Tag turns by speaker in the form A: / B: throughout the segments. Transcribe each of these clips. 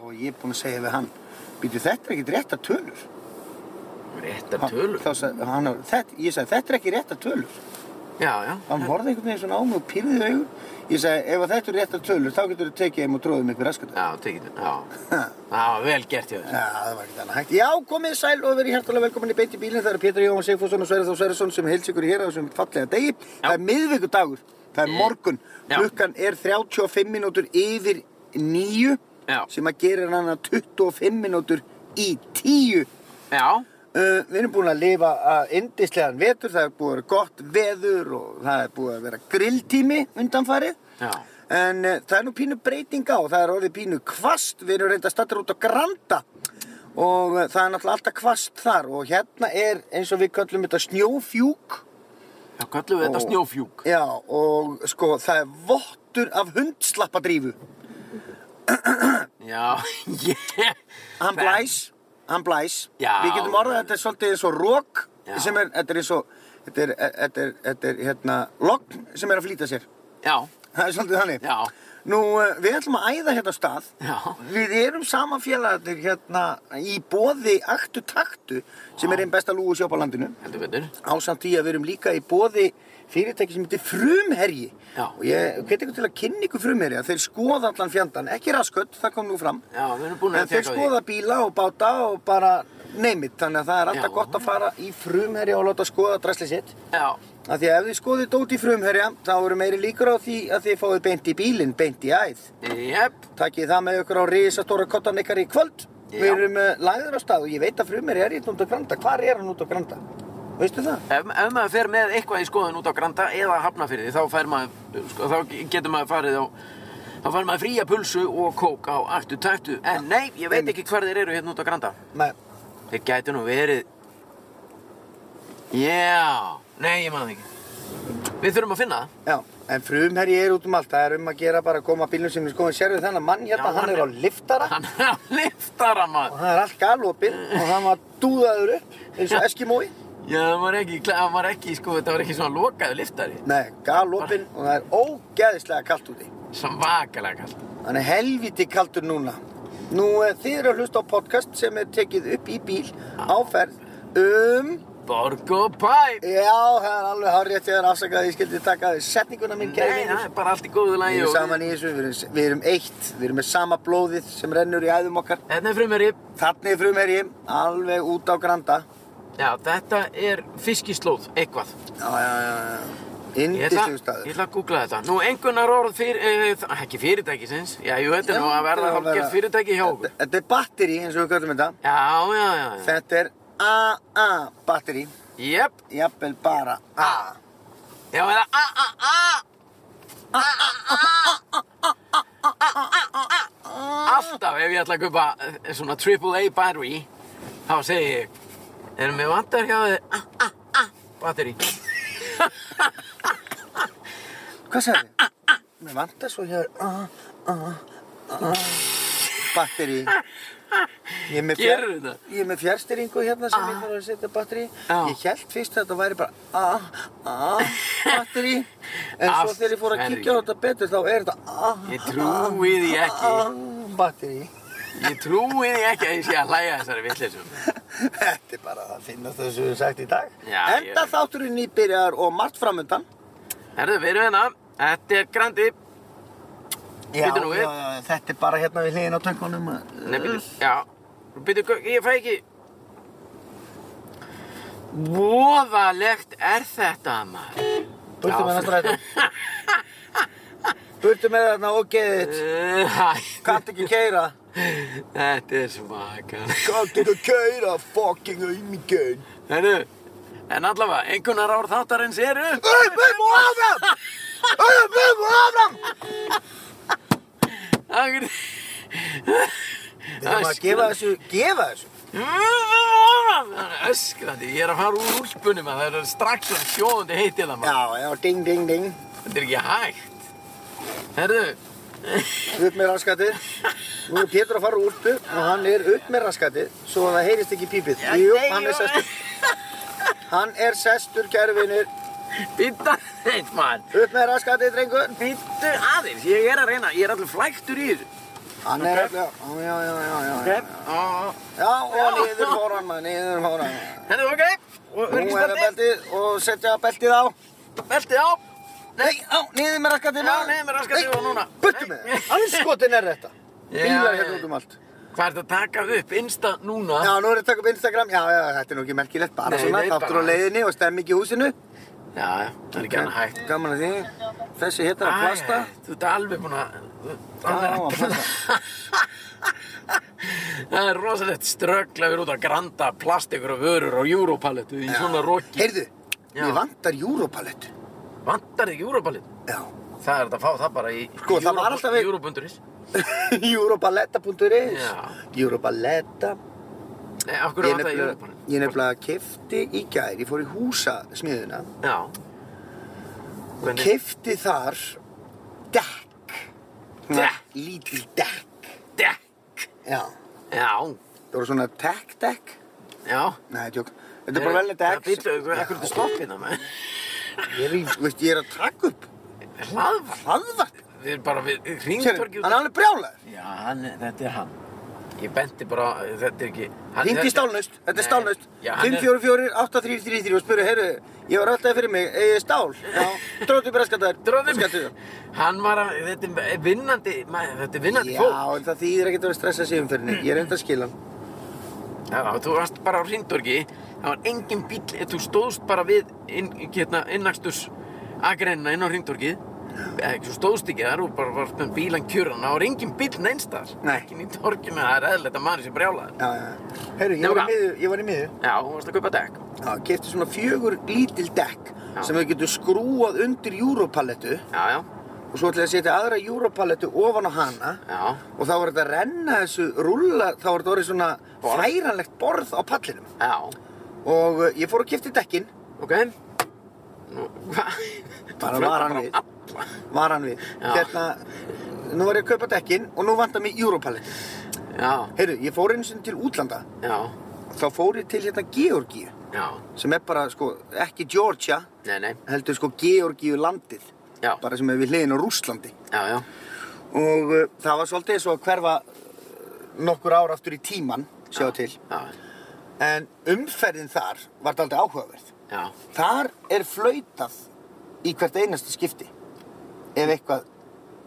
A: var ég búinn að segja við hann býtu þetta er ekkert réttar tölur
B: Réttar tölur?
A: Þá sagði hann, þetta, ég sagði þetta er ekki réttar tölur
B: Já, já.
A: hann horfði einhvern veginn svona á mig og pýrði augun ég sagði ef að þetta er réttar tölur þá getur þú tekið þeim og tróðum ykkur raskata
B: Já, tekið þetta. Já. Það var vel gert hjá þér.
A: Já, það var ekki annað hægt. Já, komið sæl og verið hjertalega velkomin í beint í bílinn. Það eru Pétur Jóhann Sigfússon og Sverið Þá Sverjesson sem heils ykkur hér á þessum fallega degi. Það er miðvikudagur, það er morgun.
B: Mm. Já.
A: Klukkan er 35 mínútur yfir 9
B: Já.
A: sem að gera hann að 25 mínútur í 10.
B: Já.
A: Uh, við erum búin að lifa að indislegan vetur, það er búið að vera gott veður og það er búið að vera grilltími undanfarið.
B: Já.
A: En uh, það er nú pínu breyting á, það er orðið pínu kvast, við erum reynda að statta út á Granda og uh, það er náttúrulega alltaf kvast þar og hérna er eins og við kallum þetta snjófjúk.
B: Já, kallum við þetta
A: Ó.
B: snjófjúk.
A: Já og sko það er vottur af hundslappadrífu.
B: Já, ég...
A: Hann blæs, hann blæs.
B: Já.
A: Við getum orðað að þetta er svolítið eins og rók
B: Já.
A: sem er, þetta er eins og, þetta er, þetta er, þetta er hérna, lokn sem er að flýta sér.
B: Já,
A: Það er svolítið þannig.
B: já,
A: Nú, eh, við ætlum að æða hérna af stað.
B: já.
A: Við erum saman félagarnir hérna í boði Aktu Taktu sem er einn besta lúgusjóp á landinu
B: Heldur betur.
A: ásamt því að við erum líka í boði fyrirtæki sem heitir Frumherji
B: Já.
A: og ég hveti ykkur til að kynna ykkur Frumherja þeir skoða allan fjandan, ekki raskött, það kom nú fram
B: Já, við erum búin
A: en
B: að
A: þeir
B: tekja á því.
A: skoða bíla og báta og bara neymit þannig að það er alltaf
B: Já.
A: gott að fara í Frumherja og láta skoða drasli sitt
B: Já,
A: af því að ef þið skoðið dót í Frumherja þá eru meiri líkur á því að þið fáið beint í bílinn, beint í æð
B: jep,
A: Takkið það með ykkur á risastóra kottan ykkar í kvöld.
B: Já.
A: Við erum uh, lagður á stað og ég veit að frumir er hérna út á Granda. Hvar er hann út á Granda? Veistu það?
B: ef, ef maður fer með eitthvað í skoðun út á Granda eða Hafnafyrði þá, fær maður, sko, þá getur maður farið á þá fær maður fría pulsu og kók á aktu taktu en nei, ég veit ekki hvar þeir eru hérna út á Granda
A: Nei,
B: þeir gætu nú verið já, nei ég maður ekki við þurfum að finna það
A: já. En frumherji er út um allt. Það er um að gera bara að koma að bílnum sem við skoðum. Sérðu þennan mann hérna,
B: Já,
A: hann,
B: hann
A: er á
B: er-
A: liftara
B: hann er að liftara
A: og
B: maður
A: það er allt galopinn og hann var dúðaður upp eins og Eskimói.
B: já, það var ekki, kla- hann var ekki, sko, þetta var ekki svona lokaðu liftari
A: Nei, galopinn og það er ógeðislega kalt úti.
B: svakalega kallt
A: Hann er helviti kaltur núna. Nú, eh, þið eru að hlusta á podcast sem er tekið upp í bíl áferð um...
B: Borg og Pæp
A: Já, það er alveg hár rétt þegar afsakaði, ég skildi taka því setninguna minn, kæri
B: nei, það
A: vinnur.
B: er bara allt í góðu
A: Við
B: lagi
A: erum
B: og-
A: saman í þessu, við erum, við erum eitt, við erum með sama blóðið sem rennur í æðum okkar.
B: Þetta Hérna er frumherri.
A: Þannig frumherji, alveg út á granda.
B: Já, þetta er fiskislóð, eitthvað.
A: Já, já, já, já.
B: Ég ætla,
A: Indislegu
B: ég
A: staður.
B: ætla að googla þetta. Nú, einhvernar orð fyrir, eh, þ- ekki fyrirtækisins. Já, jú, þetta er nú að verða hálfgerð fyrirtæki hjá okkur.
A: Þetta- Þetta er batteri eins og við kallum þetta.
B: Já, já, já. já.
A: Þetta er AA batteri,
B: Jep.
A: jafnvel bara A.
B: Já, eða a, a, a. Alltaf ef ég ætla að kaupa eh, svona AAA battery, þá segi ég, erum við vantar hjá þér a, a, a battery.
A: Hvað sagði þið? Mér vantar svo hér AA, AA, batteri. Ég er með fjar-
B: Gerðu þetta?
A: Ég er með fjárstyringu hérna sem ég þarf að setja batteri í.
B: Já.
A: Ég held fyrst að þetta væri bara a, a, batteri En svo
B: Af
A: þegar ég fór að
B: hverju?
A: kíkja á þetta betur þá er þetta a,
B: Ég trúi því ekki.
A: a, batteri
B: Ég trúi því ekki að ég sé að hlæja að þessari vitleysum.
A: Þetta er bara að finna það sem við höfum sagt í dag
B: Já,
A: Enda
B: ég-
A: þátturinn nýbyrjar og margt framundan
B: Herðu, við erum hérna. Þetta er Grandi.
A: Já,
B: Bíddu nú við.
A: já, þetta er bara hérna við hliðin á töngunum að-
B: Nei, byrju, já. Byrju, gau- ég fæ ekki... Voðalegt er þetta, maður.
A: Burtu með
B: Já.
A: þarna strætó Burtu með þarna og geðið þitt
B: Uh, hæ,
A: Kannt ekki keira
B: þetta er smakan.
A: Kannt ekki keira fucking auðmikið
B: Herru, en allavega, einhvernar ár þáttarins eru...
A: Öfum og áfram Öfum og áfram
B: Akkur...
A: Við þurfum að gefa þessu Gefa þessu
B: Öskrandi, ég er að fara úr úlpunum að það er strax um sjóðandi heitið það maður.
A: Já, já, ding, ding, ding
B: Þetta er ekki hægt. Herru,
A: Upp með raskatið Nú er Pétur að fara úr úrtu og hann er upp með raskatið Svo að það heyrist ekki pípið
B: Já,
A: Jú,
B: nei,
A: hann er
B: jú.
A: sestur Hann er sestur, kæru vinir
B: býta þeitt maður.
A: Upp með raskatið, drengur
B: Býttu aðeins, ég er að reyna, ég er allir flæktur í þessu.
A: Hann er alltaf, já, já, já, já, já, já.
C: Grepp.
B: Já,
A: Já, og niður fór hann, maður, niður fór hann.
B: henni, ok, og
A: Nú er það
B: örgisbeltið,
A: beltið og setja beltið á.
B: beltið á,
A: Nei, á, niður með raskatið.
B: Já, niður með raskatið og núna.
A: Buttu með það. Anskotin er þetta.
B: Já,
A: Bílar
B: já,
A: hérna
B: já.
A: út um allt.
B: Eh, hvað er þetta að taka upp insta núna?
A: Já, nú er þetta upp Instagram. Já, já, þetta er nú ekki merkilegt. Bara
B: Nei,
A: svona,
B: nei,
A: þáttur á
B: bara-
A: leiðinni og stemming í húsinu.
B: Já, já, það er ekki hann hægt.
A: Gaman að því. Þessi hérna er plasta.
B: Æ, Þú ert alveg búinn að...
A: Já, já, að plasta.
B: Það er rosalegt ströggla við erum út að granda plastikur og vörur á Europalettu í svona roki.
A: Heyrðu,
B: Já.
A: mér vantar Europalett.
B: Vantar þig Europalettu?
A: Já.
B: Það er þetta að fá það bara í
A: Sko, það var alltaf við-
B: Europundurins.
A: Europaletta.is
B: Já.
A: Europaletta.
B: Nei, af hverju
A: Ég
B: vantar það
A: nefnilega,
B: Europalettu?
A: ég nefnilega kefti í gær, ég fór í húsasmiðuna
B: Já.
A: og kefti þar dekk. Svona
B: Dekk?
A: Lítil dekk.
B: Dekk!
A: Já.
B: Já,
A: Það voru svona tech-dekk.
B: já. Eh,
A: Nei, tjók. Þetta er bara velið dekk.
B: Það býttu, hvað er þetta stoppina með?
A: Ég er í, þú veist, ég er að taka upp
B: Hlaðvarp.
A: hlaðvarp.
B: Við erum bara við
A: Sérðu,
B: hringtorki
A: Hann er alveg brjálaður.
B: Já, hann, er- þetta er hann. Ég benti bara, þetta er ekki... hann-
A: Hringdi í
B: þetta-
A: stálnust, þetta er
B: Nei.
A: stálnust
B: Já, hann
A: 544 8333 og spurði, heyrðu, ég var alltaf fyrir mig, eigi stál Já, dróttu bara skattar
B: Dróðum, hann var að, þetta er eh, vinnandi, maður, þetta er vinnandi
A: Já,
B: fólk.
A: en það þýðir ekkert að vera stressað sig umferðinni Ég er enda að skila hann
B: Já, þú varst bara á hringdorgi, það var engin bíl, þú stóðst bara við inn, hérna, innaksturs agreinina inn á hringdorgið. Þú stóðst ekki þar og bara varst með bílan kjurran, það var engin bíl neinstar.
A: Nei.
B: Ekki í torginu, það er eðlilegt að maður sé brjálaður.
A: Já, já, heyrðu, ég var
B: Nefna.
A: í miðu, ég var í miðu
B: Já, þú varst að kaupa dekk.
A: Já, kefti svona fjögur lítil dekk
B: Já.
A: sem þau getur skrúað undir Europaletu
B: Já, já,
A: og svo ætlaði að setja aðra Europaletu ofan á hana
B: já,
A: og þá var þetta að renna þessu rúlla þá var þetta orðið svona
B: Borð.
A: færanlegt borð á pallinum
B: já,
A: og uh, ég fór að kefti dekkin
B: ok. Nú, hvað?
A: Bara
B: Þú
A: var hann
B: flautar
A: við.
B: bara á alla.
A: var hann við
B: Já.
A: hérna, nú var ég að kaupa dekkin og nú vantar mér Europallet
B: Já,
A: heyrðu, ég fór einu sinni til útlanda
B: já,
A: þá fór ég til hérna Georgíu
B: já,
A: sem er bara, sko, ekki Georgia
B: nei, nei,
A: heldur sko Georgíu landið
B: já,
A: bara sem er við hliðin á Rússlandi
B: já, já,
A: og uh, það var svolítið svo að hverfa uh, nokkur ára aftur í tíman sjá til
B: já,
A: en umferðin þar var daldið áhugaverð
B: já.
A: þar er flautað í hvert einasta skipti ef eitthvað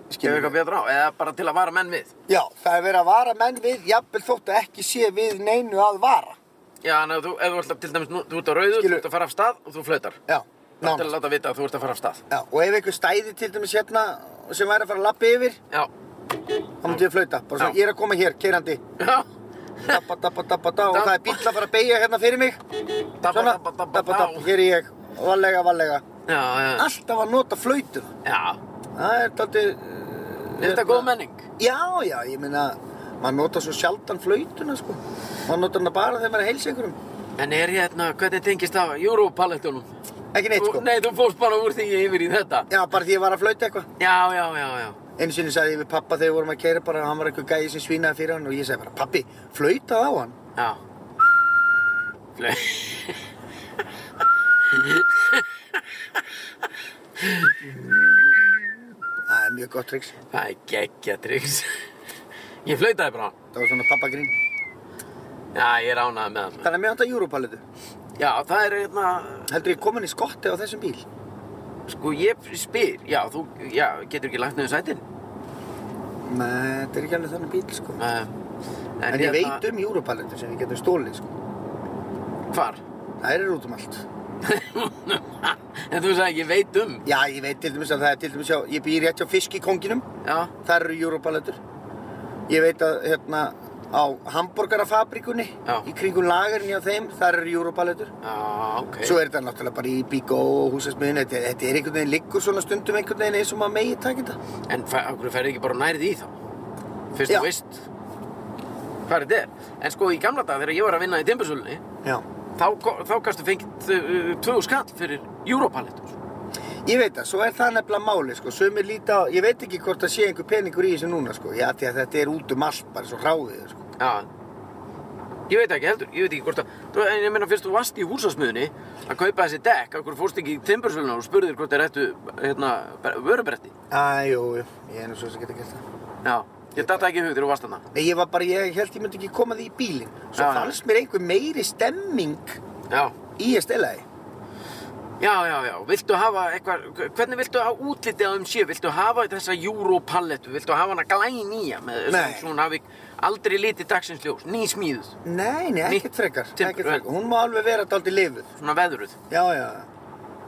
B: Gefum
A: skilur
B: eitthvað betra á, eða bara til að vara menn við.
A: Já, það er verið að vara menn við, jafnvel þótt að ekki sé við neinu að vara.
B: Já, en ef þú, ef þú ert að- til dæmis, nú, þú ert á rauðu,
A: Skilur-
B: þú ert að fara af stað og þú flautar.
A: Já,
B: Það er til að
A: nánast.
B: láta vita að þú ert að fara af stað.
A: Já, og ef einhver stæði til dæmis hérna sem væri að fara að lappa yfir,
B: Já,
A: þá myndi ég flauta. Bara svona,
B: Já.
A: ég er að koma hér, keirandi,
B: já,
A: dabba, dabba, dabba, dabba, og
B: Dabba.
A: það er bíll að fara að beigja hérna fyrir mig.
B: dabba,
A: Svona,
B: dabba, dabba,
A: dabba, dabba, hér er ég, valega, valega.
B: Já, já,
A: Alltaf að nota flautuna.
B: já,
A: Það er daldið...
B: er þetta góð menning?
A: Já, já, ég meina, maður nota svo sjaldan flautuna, sko. Maður nota hana bara þegar maður er að heilsa einhverjum.
B: En er hérna, hvernig tengist það Europalettunum?
A: Ekki neitt, sko.
B: Nei, þú fórst bara úr því yfir í þetta.
A: Já, bara því ég var að flauta eitthvað.
B: Já, já, já, já.
A: Einu sinni sagði ég við pappa þegar við vorum að keira bara, hann var eitthvað gæði sem svínaði fyrir hann og ég sagði bara, pappi, flautað á hann.
B: Já. Nei.
A: Það er mjög gott triks.
B: Það er geggja triks. Ég flautaði bara. á hann.
A: Það var svona pappagrín.
B: Já, ég er ánægð með hann.
A: Þannig að mér vantar júrupaletu.
B: Já, það er hérna,
A: Heldur ég komin í skotti á þessum bíl?
B: Sko ég spyr, já þú já, getur ekki lagt niður sætin
A: Nei, þetta er ekki alveg þannig bíl, sko.
B: uh,
A: En,
B: hérna-
A: ég veit um júrupaletu sem við getum stólið, sko.
B: Hvar?
A: Það er út um allt.
B: en þú sagði ég veit um
A: Já, ég veit til dæmis að það er til dæmis að ég býr rétt hjá fiskikonginum.
B: Já,
A: Þar eru júrupaletur. Ég veit að, hérna, á hambúrgarafabrikunni
B: Já.
A: í kringum lagarni á þeim, þar eru júrupaletur.
B: já, ok
A: Svo er þetta náttúrulega bara í bíkó og húsasmiðinu, þetta, þetta er einhvern veginn liggur svona stundum einhvern veginn eins og maður megi taka þetta.
B: En fa- af hverju ferði ekki bara nærið í þá? Fyrst
A: Já.
B: þú veist Hvað er þetta? En sko í gamla dag þegar ég var að vinna í Dimbursölunni
A: Já.
B: þá, ko- þá kannstu fengið uh, tvöðu skall fyrir Europaletur
A: Ég veit það, svo er það nefnilega máli, sko, sumir líta á, ég veit ekki hvort það sé einhver peningur í þessu núna, sko, já, því að þetta er út um allt, bara svo hráðið, sko.
B: Já Ég veit ekki heldur, ég veit ekki hvort að þú- En ég meina fyrst þú varst í húsasmiðunni að kaupa þessi dekk, af hverju fórst ekki í timbursöluna og spurðir hvort þeir ættu hérna, vörubretti
A: Æ, jú, jú, ég er nú svo sem geta gert það.
B: Já, Ég datta ekki í hug þegar þú varst þarna.
A: Nei, ég var bara, ég held ég myndi ekki koma því í bílinn. Svo
B: Já, já.
A: fannst mér einhver meiri stemming
B: Já.
A: í að stela því.
B: Já, já, já. Viltu hafa eitthvað, hvernig viltu hafa útlitið á þeim sé? Viltu hafa þessa Europallettu? Viltu hafa hana glænýja með
A: Nei.
B: svona hún hafi aldrei litið dagsins ljós? Nýsmíðuð,
A: Nei, nei,
B: Nýtt
A: ekkert frekar.
B: timbur,
A: Ekkert
B: vel.
A: frekar. Hún má alveg vera dálítið lifuð.
B: svona veðruð.
A: Já, já.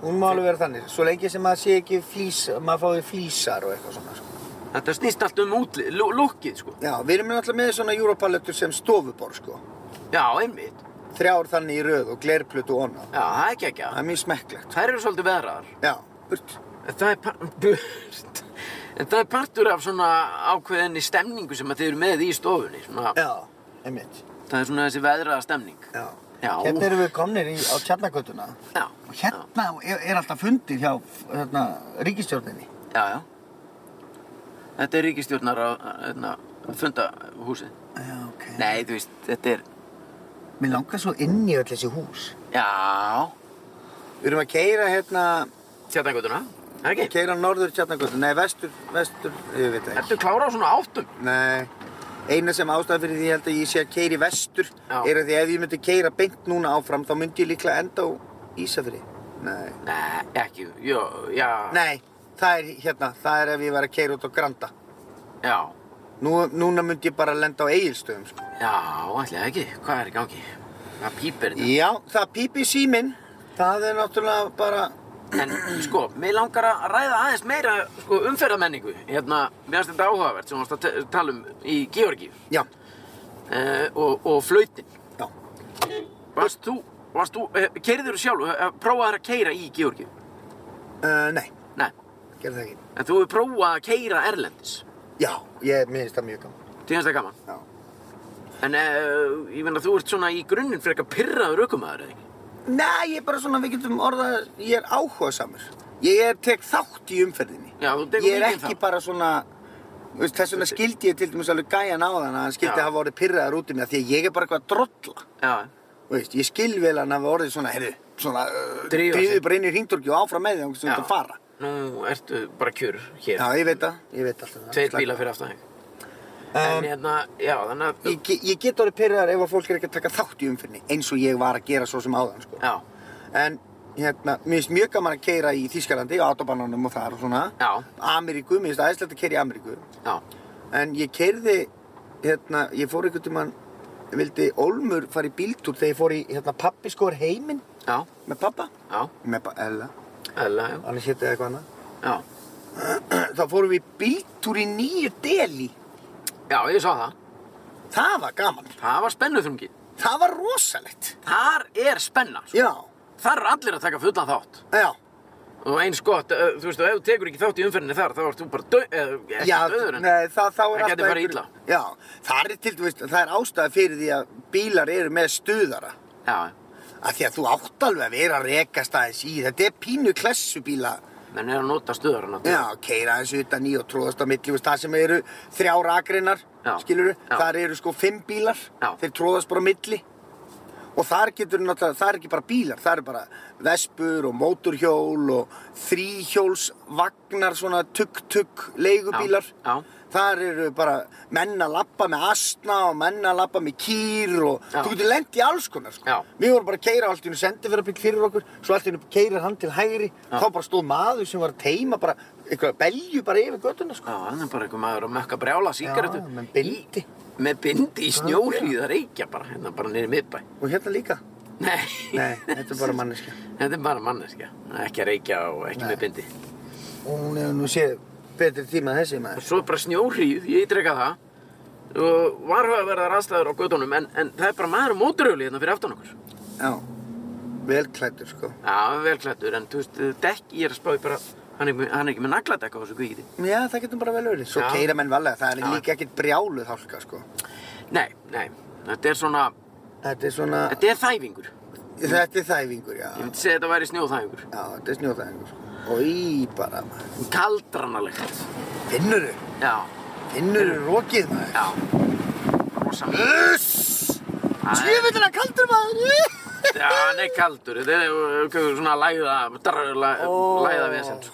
A: Hún má alveg vera þannig. Svo lengi sem maður sé ekki flís, maður fái flísar og eitthvað svona. Sko.
B: Þetta snýst allt um útlið, lú- lukkið, sko.
A: Já, við erum náttúrulega með svona Europaletur sem stofubor, sko.
B: Já, einmitt.
A: Þrjár þannig í röð og glerplut og annað.
B: Já, það er ekki ekki
A: Það er mjög smekklegt.
B: Þær eru svolítið veðraðar.
A: Já, burt.
B: En það er, par burt. en það er partur af svona ákveðinni stemningu sem að þið eru með í stofunni. Svona,
A: Já, einmitt.
B: Það er svona þessi veðraða stemning.
A: Já.
B: Já.
A: Hérna erum við komnir í, á Tjarnagötuna.
B: Já.
A: Og hérna er, er alltaf fundir hjá hérna, ríkistjórninni.
B: Já, já. Þetta er ríkistjórnar á hérna, fundahúsið.
A: Já, ok.
B: Nei, þú veist, þetta er...
A: Mér langar svo inn í öll þessi hús.
B: Já.
A: Við erum að keira hérna,
B: Tjarnagötuna. Það er ekki?
A: keira norður Tjarnagötu, nei vestur, vestur, ég veit það ekki.
B: Ertu klára á svona áttum?
A: Nei, eina sem ástæða fyrir því ég held að ég sé að keira í vestur
B: Já.
A: er að því ef ég myndi keira beint núna áfram þá myndi ég líklega enda á Ísafri. Nei.
B: Nei, ekki. Jó, já.
A: Nei, það er hérna, það er ef ég var að keira út á Granda.
B: Já.
A: Nú, núna myndi ég bara lenda á Egilstöðum, sko.
B: Já, ætlaði ekki. Hvað er í gangi? Það pípir þetta.
A: Já, það pípi síminn, það er náttúrulega bara,
B: En sko, mér langar að ræða aðeins meira sko, umferðamenningu. Hérna, mér finnst þetta áhugavert sem við varst að te- tala um í Georgíu
A: já,
B: eh, og, og flautin.
A: já.
B: Varst þú, varst þú, eh, keiriður þú sjálf, eh, prófaður að keira í Georgíu?
A: Uh, nei,
B: Nei,
A: gerði það ekki.
B: en þú hefur prófað að keira erlendis.
A: Já, ég minnist það mjög gaman.
B: Þið finnst það gaman.
A: Já.
B: En eh, ég meina, þú ert svona í grunninn frekar pyrraður aukumæður, eða ekki?
A: Nei, ég er bara svona, við getum orðað, ég er áhugasamur. Ég er tek þátt í umferðinni.
B: Já, þú tekur um
A: Ég er
B: mikinn
A: ekki
B: þátt.
A: bara svona, þú veist, þess vegna skildi ég til dæmis alveg gæjan á þann að hann skildi
B: Já.
A: hafa orðið pyrraðar út í mig af því að ég er bara eitthvað að drolla.
B: Já,
A: Þú veist, ég skil vel að hann hafa orðið svona, heyrðu, svona, uh,
B: Drífa sig.
A: drífið bara inn í hringdorki og áfram með því að þú ert að fara.
B: Nú ertu bara kjur hér.
A: Já, ég veit það, ég veit alltaf það.
B: Tveir bíla fyrir aftan þig.
A: Um,
B: En hérna, já, þannig að...
A: Ég, ge- ég get orðið pyrraðar ef að fólk er ekki að taka þátt í umferðinni eins og ég var að gera svo sem áðan, sko.
B: Já,
A: En hérna, mér finnst mjög gaman að keira í Þýskalandi, á autobananum og þar og svona.
B: Já.
A: Ameríku, mér finnst aðeinslegt að keira í Ameríku.
B: já,
A: En ég keirði, hérna, ég fór einhvern tímann, vildi Olmur fara í bíltúr þegar ég fór í, hérna, pappi skor heiminn
B: já,
A: með pappa.
B: já,
A: Með pa Ella,
B: eða, já,
A: annars hétt eða eitthvað annað.
B: já.
A: Þá fórum við í bíltúr í nýju deli.
B: Já, ég sá það.
A: Það var gaman.
B: Það var spennuþrungi.
A: Það var rosalegt.
B: Þar er spenna. Sko.
A: Já,
B: Þar er allir að taka fullan þátt.
A: já.
B: Og eins gott, ö, þú veist, og ef þú tekur ekki þátt í umferðinni þar, þá ert þú bara döð, eða ekki
A: Já,
B: döður en...
A: nei, það, það
B: það gæti farið illa.
A: Já, það er til dæmis, það er ástæða fyrir því að bílar eru með stuðara.
B: Já,
A: Af því að þú átt alveg að vera að rekast aðeins í, þetta er pínu klessubíla.
B: menn er að nota stöður hann
A: Já, keira aðeins utan í og tróðast á milli, veist, það sem eru þrjár akreinar,
B: Já.
A: skilur
B: Já.
A: þar eru sko fimm bílar,
B: Já.
A: þeir tróðast bara á milli. Og þar getur náttúrulega, það er ekki bara bílar, það eru bara vespur og móturhjól og þríhjólsvagnar, svona tugg-tugg leigubílar.
B: Já, já.
A: Þar eru bara menn að lappa með asna og menn að lappa með kýr og
B: Já.
A: þú getur lent í alls konar sko.
B: Já.
A: Við vorum bara að keira allt í hennu sendifyrrabíl fyrir okkur, svo allt í hennu keirir hann til hægri, þá bara stóð maður sem var að teima bara eitthvað belju bara yfir göttuna sko.
B: Já, hann er bara einhver maður að mökka brjála síkaretu.
A: með bindi.
B: Í, með bindi í snjóhríða reykja bara, hérna bara niður í miðbæ.
A: Og hérna líka.
B: Nei.
A: Nei, þetta er bara manneskja.
B: Þetta er bara manneskja. Ekki að reykja og ekki með bindi.
A: Og hún hefur nú séð betri tíma en þessi maður.
B: Svo er bara snjóhríð, ég ítreka það. Og varhugaverðar aðstæður á gödunum, en, en það er bara maður á móturhjóli hérna fyrir aftan okkur.
A: Já, velklættur sko.
B: Já, vel klættur, en þú veist, dekk, ég er að spá í bara, hann er, hann er ekki með nagladekk á þessu kvíkiti.
A: Já, það getur bara vel verið. Svo
B: Já.
A: keira menn valega, það er
B: Já.
A: líka ekkert brjáluð hálka sko.
B: Nei, nei, þetta er svona,
A: Þetta er svona,
B: þetta er þæfingur.
A: þetta er þæfingur, já.
B: Ég myndi segja þetta væri snjóþæfingur.
A: Já, þetta er snjóþæðingur sko. Og í bara, maður.
B: Kaldranalegt.
A: Finnurðu?
B: Já,
A: Finnurðu rokið maður?
B: já. Rosa mikið.
A: Uss!
B: Æ.
A: Sjöfullina kaldur maður!
B: Já, hann er kaldur, þetta er uh, eitthvað svona læða, drrr, læ,
A: Ó.
B: læða vesend.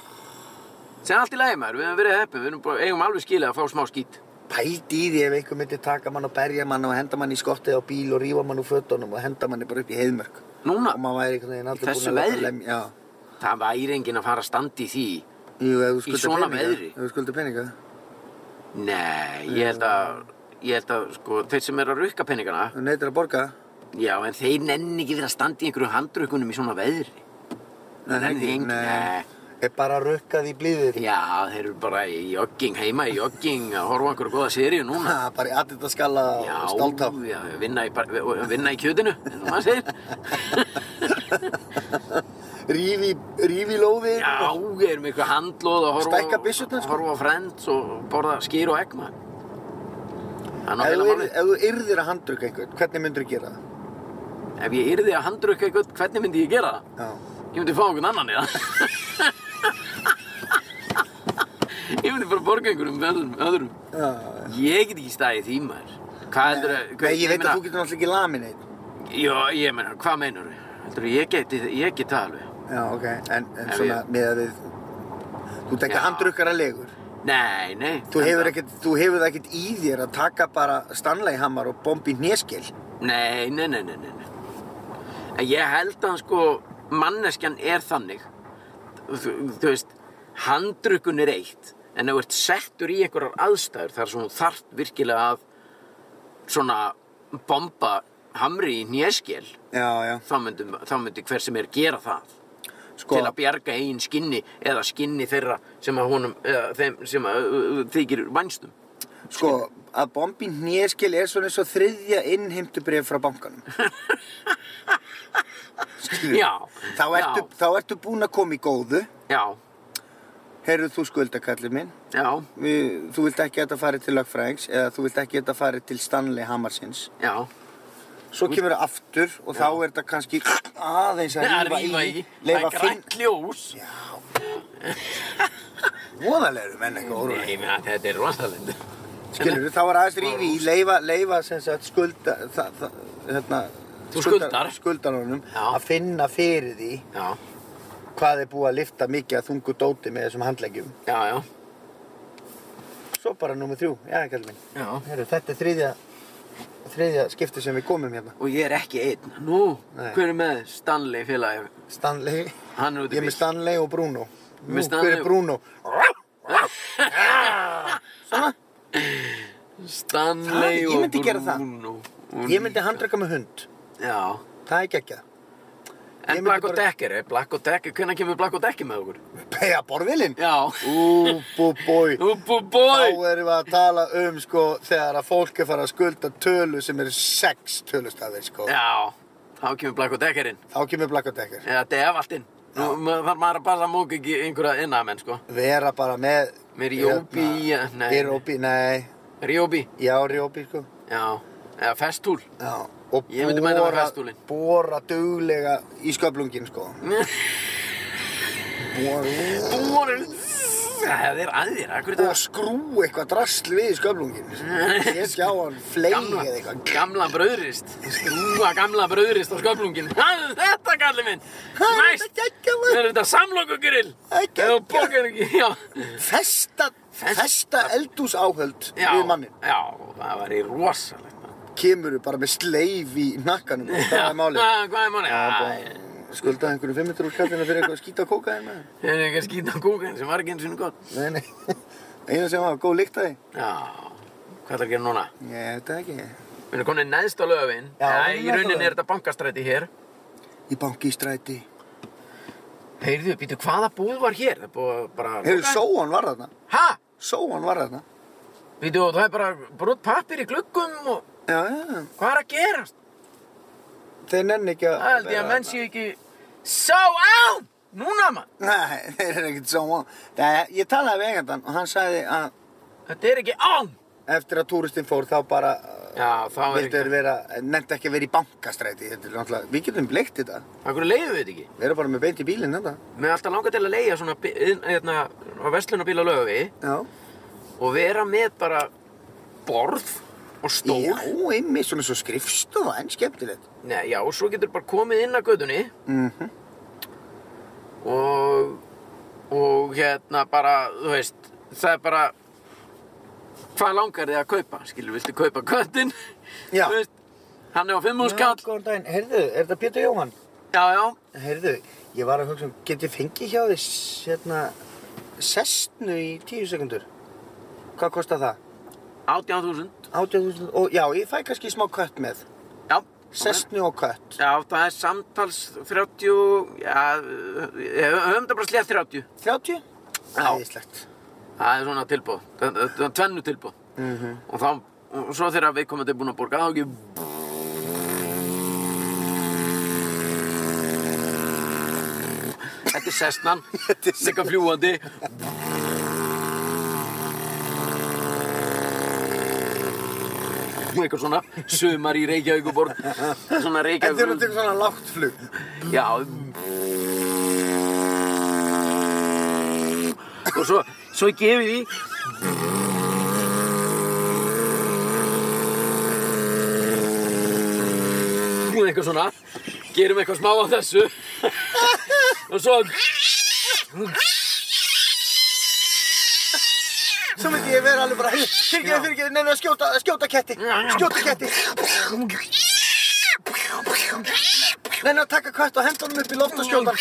B: Sem allt í lægi maður, við hefum verið heppið, við erum bara, eigum alveg skilið að fá smá skít.
A: pældi í því ef einhver myndi taka mann og berja mann og henda mann í skottið á bíl og rífa mann úr fötunum og henda mann bara upp í heiðmörk
B: Núna,
A: og maður væri einhvern veginn
B: Í
A: allir
B: þessu
A: búinn að
B: veðri?
A: láta lemja já.
B: það væri enginn að fara að standa í því.
A: Jú, ef þú
B: Í
A: skuldir
B: svona
A: peninga,
B: veðri?
A: ef þú skuldir peninga
B: Nei, ég held að, ég held að, sko, þeir sem eru að rukka peningana,
A: þú neytir að borga
B: já, en þeir nenni ekki verið að standa í einhverju handrukkunum í svona veðri.
A: Nei,
B: nenni
A: ekki,
B: enginn,
A: nei.
B: nei.
A: er bara rukkað í blíðir
B: Já, þeir eru bara í jogging, heima í jogging, að horfa á einhverju góða seríu núna.
A: Ha, bara í aðdita skalla
B: Já,
A: og stáltá
B: já, vinna í, bar- vinna í kjötinu, eins og maður segir.
A: rífi, rífi lóði
B: Já, ég er með eitthvað handlóð að horfa, á-
A: Stækka byssurnar, sko.
B: horfa á Friends og borða skýr og egg maður.
A: ef
B: Það er nú heila
A: þú yrð-
B: málið.
A: ef þú yrðir að handrukka einhvern hvernig myndir þú gera það?
B: Ef ég yrði að handrukka eitthvað, hvernig myndi ég gera það?
A: Já.
B: Ég myndi fá einhvern annan í það. ég myndi bara borga einhverjum öðrum. öðrum.
A: Já.
B: Ég get ekki staðið í því maður. Hvað heldur að...
A: Eh, Nei, ég veit að þú getur náttúrulega ekki lamin eitt
B: Já, ég meina, hvað meinar þú? Heldur ég geti, ég geti það alveg.
A: Já, ok, en, en
B: Ef
A: svona
B: ég-
A: með að við Þú tekur
B: Já.
A: handrukkara legur
B: Nei, nei.
A: Þú hefur,
B: enda-
A: ekkert, þú hefur það ekkert í þér að taka bara Stanley hammar og bombi hneskil
B: Nei, nei, nei, nei, nei, nei. En ég held að sko manneskjan er þannig þú, þú veist, handrukun er eitt en ef þú ert settur í einhverjar aðstæður þar sem þú þarft virkilega að svona bomba hamri í néskel
A: Já, já
B: þá myndi, þá myndi hver sem er gera það
A: Sko,
B: til að bjarga eigin skinni eða skinni þeirra sem að honum eða þeim sem að uh, uh, þykir vænstum
A: sko að bombi hneskil er svona eins og þriðja innheimtubrif frá bankanum Skilur
B: Já,
A: Þá ertu,
B: já.
A: þá ertu búin að koma í góðu
B: Já,
A: Heyrðu þú skuldakallið minn
B: já,
A: Við, Þú vilt ekki að þetta fari til lögfræðings eða þú vilt ekki að þetta fari til Stanley Hammarsins
B: já
A: Svo kemur það aftur og þá er þetta kannski aðeins að
B: Það
A: rífa
B: rífa
A: í,
B: í, það
A: leifa
B: er
A: finn...
B: grænt ljós
A: Móðalegur menn eitthvað
B: Nei,
A: orðið.
B: ég meina, þetta er rosalegt.
A: Skilur, þá er aðeins rífi í, leifa, leifa sem sagt skulda, það, það, hérna...
B: Þú skuldar.
A: Skuldarunum
B: Já.
A: að finna fyrir því
B: Já,
A: hvað er búið að lifta mikið að þungu dóti með þessum handleggjum.
B: já, já.
A: Svo bara númer þrjú, já, kallið minn.
B: Já.
A: Heru, þetta er þriðja, þriðja skipti sem við komum hérna.
B: Og ég er ekki einn. Nú,
A: Nei.
B: hver er með Stanley félagi?
A: Stanley,
B: Hann er út
A: ég
B: í
A: er með
B: bíl.
A: Stanley og Bruno. Nú,
B: Með
A: hver
B: Stanley og-
A: er Bruno? Svona?
B: Stanley
A: Það- ég
B: og
A: myndi gera það.
B: Bruno. Og-
A: Ég myndi handraka með hund.
B: Já.
A: Það er geggjað.
B: En
A: myndi
B: Black og
A: bara-
B: Decker, er Black og Decker, hvernig kemur Black og Decker með okkur?
A: Pega borðvilinn?
B: Já.
A: Ú, bú, búi.
B: Úbú
A: Þá
B: boy!
A: erum við að tala um, sko, þegar að fólk er farið að skulda tölu sem eru sex tölustafir, sko.
B: Já, þá kemur Black og Deckerinn.
A: Þá kemur Black og Decker.
B: Eða Devaldinn. Nú, ma- þarf maður að bara móka ekki einhverja innamenn, sko.
A: Vera bara með...
B: Með Ryobi,
A: Hérna,
B: ja, nei.
A: Ryobi, nei.
B: Ryobi,
A: Já, Ryobi, sko.
B: já. Eða Festool.
A: Já. Og
B: Ég myndi mæta með festúlinn.
A: bóra duglega í sköflungin, sko. Bora,
B: Búin! Það er aðir, akkur er
A: og skrú eitthvað drasl við í sköflungin. Ég skjá hann fleigi
B: Gamla,
A: eða eitthvað.
B: gamla bröðrist Skrúa gamla bröðrist á sköflungin Ha, Þetta kalli minn Næst
A: geggjað.
B: Það er þetta samlokugrill
A: Það er
B: Eða
A: geggjað.
B: bókar ekki Já,
A: festa,
B: Festa-
A: festa, eldús áhöld
B: já,
A: við mannin
B: já það var í rosalegt maður.
A: kemur bara með sleif í nakkanum og það er málið
B: Ah, Hvað er málið?
A: Það er
B: Ah,
A: bara- skuldaði einhverjum 500 úr kallina fyrir eitthvað að skýta á kókaðin með
B: Það er eitthvað skýta kúkan sem var ekki eins og gott
A: nei, nei, eina sem var góð líkt að því
B: Já, hvað er að gera núna?
A: ég veit það ekki
B: Við erum konin neðst á löfin
A: Já,
B: Í
A: neðst á
B: rauninni
A: Laugaveginn.
B: er þetta bankastræti hér
A: í banki í stræti
B: Heyrðu, býtu, hvaða búð var hér? Það er búið að bara
A: hefur
B: loka.
A: sóan var þarna
B: Ha?
A: sóan var þarna
B: Býtu, og það er bara brot pappir í gluggum og
A: já, já,
B: Hvað er að gerast?
A: þeir nenni ekki að
B: Það held ég
A: vera
B: að menn
A: þarna.
B: séu ekki So out! Núna mann!
A: nei, þeir eru ekkert sóan það, ég talaði við eigandann og hann sagði að
B: Þetta er ekki on!
A: eftir að túristinn fór þá bara
B: Já, þá er
A: Við
B: ekki
A: getum vera, nefndi ekki að vera í bankastræti, þetta er náttúrulega, við getum leikt þetta.
B: Akkur leiðu við þetta ekki
A: Við erum bara með beint í bílinn þetta.
B: Mér er alltaf langað til að leiða svona bi- iðn- hérna, á verslunarbíl á löfi
A: Já.
B: og vera með bara borð og stól
A: Já, einmitt, svona svo skrifstofa, en skemmtilegt.
B: Nei, já, og svo getur bara komið inn að gödunni
A: Mhm.
B: og og hérna bara, þú veist það er bara hvað langar þið að kaupa? Skilur, viltu kaupa köttin?
A: Já.
B: Þú veist, hann er á
A: Já,
B: 5.000 kall.
A: góðan daginn, heyrðu, er þetta Pétur Jóhann?
B: Já, já,
A: Heyrðu, ég var að hugsa um, get ég fengið hjá þess, hérna, sestnu í tíu sekundur? Hvað kostar það?
B: 18.000.
A: 18.000 og já, ég fæ kannski smá kött með.
B: Já.
A: Sestnu og kött.
B: Já, það er samtals 30, já, eh, höfum þetta bara slétt 30.
A: 30?
B: Já.
A: Æðislegt.
B: Það er svona tilbúð, það það- það er tvennu tilbúð. -hmm.
A: Mhm.
B: Og þá, og svo þegar viðkomandi er búin að borga, þá ekki... Þetta er sestnan,
A: Þetta er
B: líka fljúandi. Eitthvað svona, sumar í Reykjavíkuborg, svona
A: En þið eru að
B: Reykjavíkuborg.
A: taka svona lágt flug.
B: Já Og svo, svo gefið því eitthvað svona gerum eitthvað smá á þessu og svo
A: Svo myndi ég vera alveg bara, fyrirgeðu, fyrirgeðu, neina, skjóta, skjóta ketti, skjóta ketti. Neina, taka kött og henda honum upp í loft og skjóta.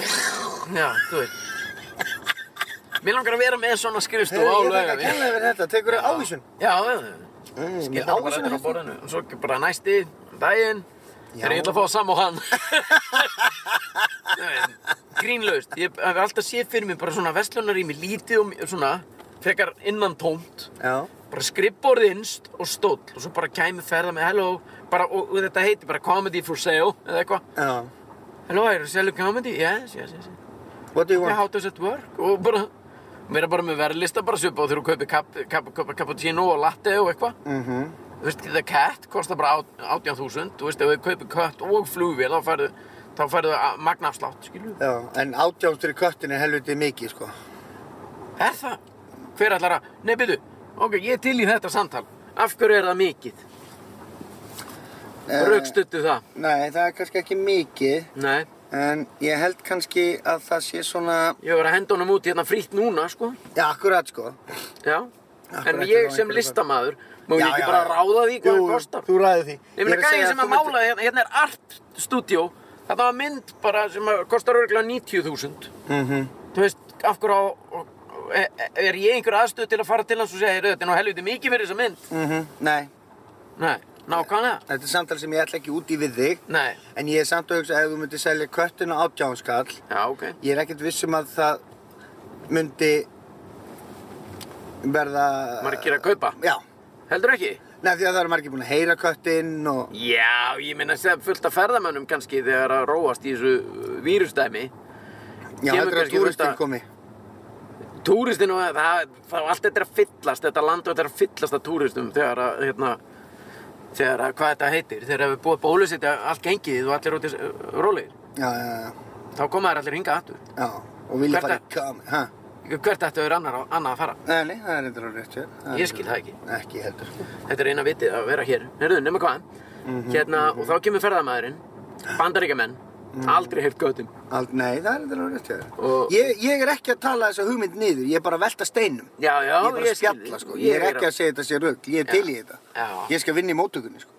A: hann.
B: já, þú veit mér langar að vera með svona skrifstof á
A: Heyrðu, ég þakka
B: lögum
A: kærlega fyrir þetta, tekur þau ávísun.
B: já, já
A: Skilja
B: Geta bara þetta á borðinu og svo ekki bara næsti daginn þegar ég ætla að fá sam á hann Nei, grínlaust ég hef alltaf séð fyrir mér bara svona vestlunarými lítið og svona frekar innan tómt
A: Já.
B: bara skrifborð innst og stóll og svo bara kæmi ferða með hello bara, og, og þetta heiti bara comedy for sale eða eitthvað
A: Já.
B: hello, are you selling comedy? yes, yes, yes
A: What do you
B: yeah,
A: want?
B: how does it work? og bara vera bara með verðlista bara svipa og þegar þú kaupir kap, kap, kap, cappuccino og latte og eitthvað
A: Mhm.
B: Þú veist, The Cat kostar bara át- 18.000 Þú veist, ef við kaupir kött og flugvél þá færðu, þá færðu að- magnafslátt, skilju
A: Já, en átjánstur í köttin er helviti mikið, sko.
B: Er það? Hver ætlar að, nei, byrju Ok, ég er til í þetta samtal Af hverju er það mikið?
A: Eh,
B: Raukstuttu það
A: Nei, það er kannski ekki mikið,
B: Nei,
A: en ég held kannski að það sé svona...
B: ég var að henda honum út hérna frítt núna, sko
A: Já, akkurat, sko.
B: Já En
A: Akkurat,
B: ég
A: já,
B: sem
A: einhverju-
B: listamaður Má ég
A: Já,
B: ekki
A: já,
B: bara
A: já.
B: ráða því hvað
A: Jú,
B: það kostar
A: Þú ræði því.
B: Ég meina
A: er
B: gæði
A: segja þú
B: sem að
A: myndir-
B: mála, hérna, hérna er Art Studio Þetta var mynd bara sem að kostar örgulega 90.000
A: Mhm.
B: þú veist, af hverju á er, er ég einhver aðstöð til að fara til hans og segja, "Heyrðu, þetta er nú helviti mikið fyrir þessa mynd
A: Mhm, Nei,
B: nei, nákvæmlega,
A: þetta er samtal sem ég ætla ekki út í við þig,
B: nei,
A: en ég er samt að hugsa að ef þú myndir selja köttin á átjánskall,
B: já, ok
A: ég er ekkert viss um að það myndi verða...
B: margir að kaupa,
A: Já,
B: heldur ekki
A: nefn því að það eru margir búin að heyra köttinn og...
B: já, ég meina sem fullt af ferðamönnum kannski þegar að róast í þessu uh, vírusdæmi
A: Já,
B: Kemur
A: þetta er að
B: kannski út
A: túristinn
B: að-
A: komi.
B: túristinn og það, það allt þetta er að fyllast, þetta land og þetta er að fyllast af túristum þegar að, hérna þegar að, hvað þetta heitir, þegar að við búið bólusetja allt gengið og allir út í rólegir
A: Já, já, já.
B: þá koma þær allir hinga aftur
A: Já, og vilja
B: Hvert
A: fara
B: að-
A: í kami, hæ?
B: hvert ættu er annar, annað að fara
A: Nei, nei, það er eitthvað rétt hér. Það er
B: Ég skil það ekki.
A: Ekki heldur, sko.
B: Þetta er eina vitið að vera hér. Herðu, nema hvað?
A: Mhm.
B: hérna, og þá kemur ferðamæðurinn, bandaríkjamenn, aldrei heyrt göttum.
A: Ald, nei, það er eitthvað rétt hér.
B: Og-
A: Ég, ég er ekki að tala þessa hugmynd niður, ég er bara að velta steinum.
B: Já,
A: ég
B: já,
A: er bara að
B: skil
A: spjalla,
B: þig.
A: sko. Ég er ekki að segja þetta sé rögg, ég er til í þetta.
B: Já.
A: Ég skal vinna í móttökunni, sko.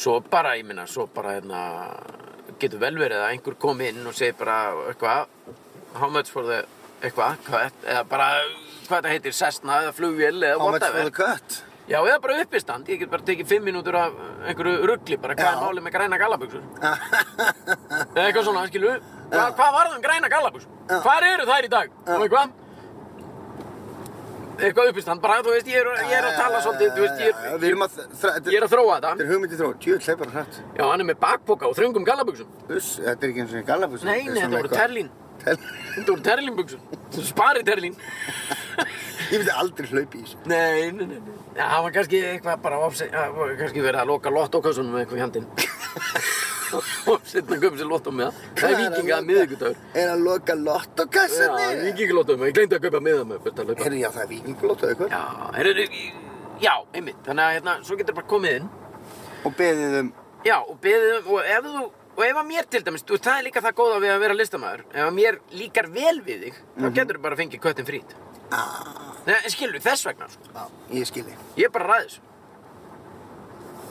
B: Svo bara, ég minna, svo bara, hérna, getur vel verið að einhver kom inn og segi bara, eitthvað, how much for the, eitthvað, hvað, eða bara, hvað þetta heitir, Cessna eða flugvél eða
A: How much for the
B: whatever.
A: cut?
B: Já, eða bara uppistand, ég get bara tekið fimm mínútur af einhverju ruggli, bara hvað
A: Já.
B: er málið með græna gallabuxur? Eða eitthvað svona, skilu, Hva, hvað var það um græna gallabuxur?
A: Já.
B: Hvar eru þær í dag? Og eitthvað? Eitthvað uppistand, bara þú veist, ég er, ég er að tala svolítið, þú veist, ég
A: Já,
B: er,
A: Eh, Við erum að... þra- Þetta
B: ég er að þróa
A: þetta
B: þetta.
A: er hugmynd í þrótt. Jú, hleyp bara hrætt.
B: Já, hann er með bakpoka og þröngum gallabuxum.
A: Uss, þetta er ekki eins og einn gallabús.
B: Nei, nei, þetta voru terlín.
A: Ég
B: Þetta voru terlínbuxum. Spari terlín.
A: myndi aldrei hlaupa í þessu.
B: Nei, nei, nei, nei. Já, það var kannski eitthvað bara ofsett, það var kannski verið að loka lottókassunum með eitthvað í handinn. Offsett með köpum sér lottó með það. Það er vikinga að miðugudagur.
A: Er að loka
B: Já,
A: lottokassinni?
B: vikinga lottó með, ég glemdi að köpa miða með fullt að laupa.
A: Herri, já, það er vikinglótt og eitthvað.
B: Já, heyrðu, já, einmitt. Þannig að hérna, svo getur bara komið inn.
A: Og beðið um...
B: Já, og beðið um, og ef þú, og ef að mér til dæmis, þú veist, það er líka það góða við að vera listamaður. Ef að mér líkar vel við þig, þá getur bara fengið köttin frít. Nei, en skilur, þess vegna, sko.
A: Já, Ah, ég skilji.
B: Ég er bara ræðis.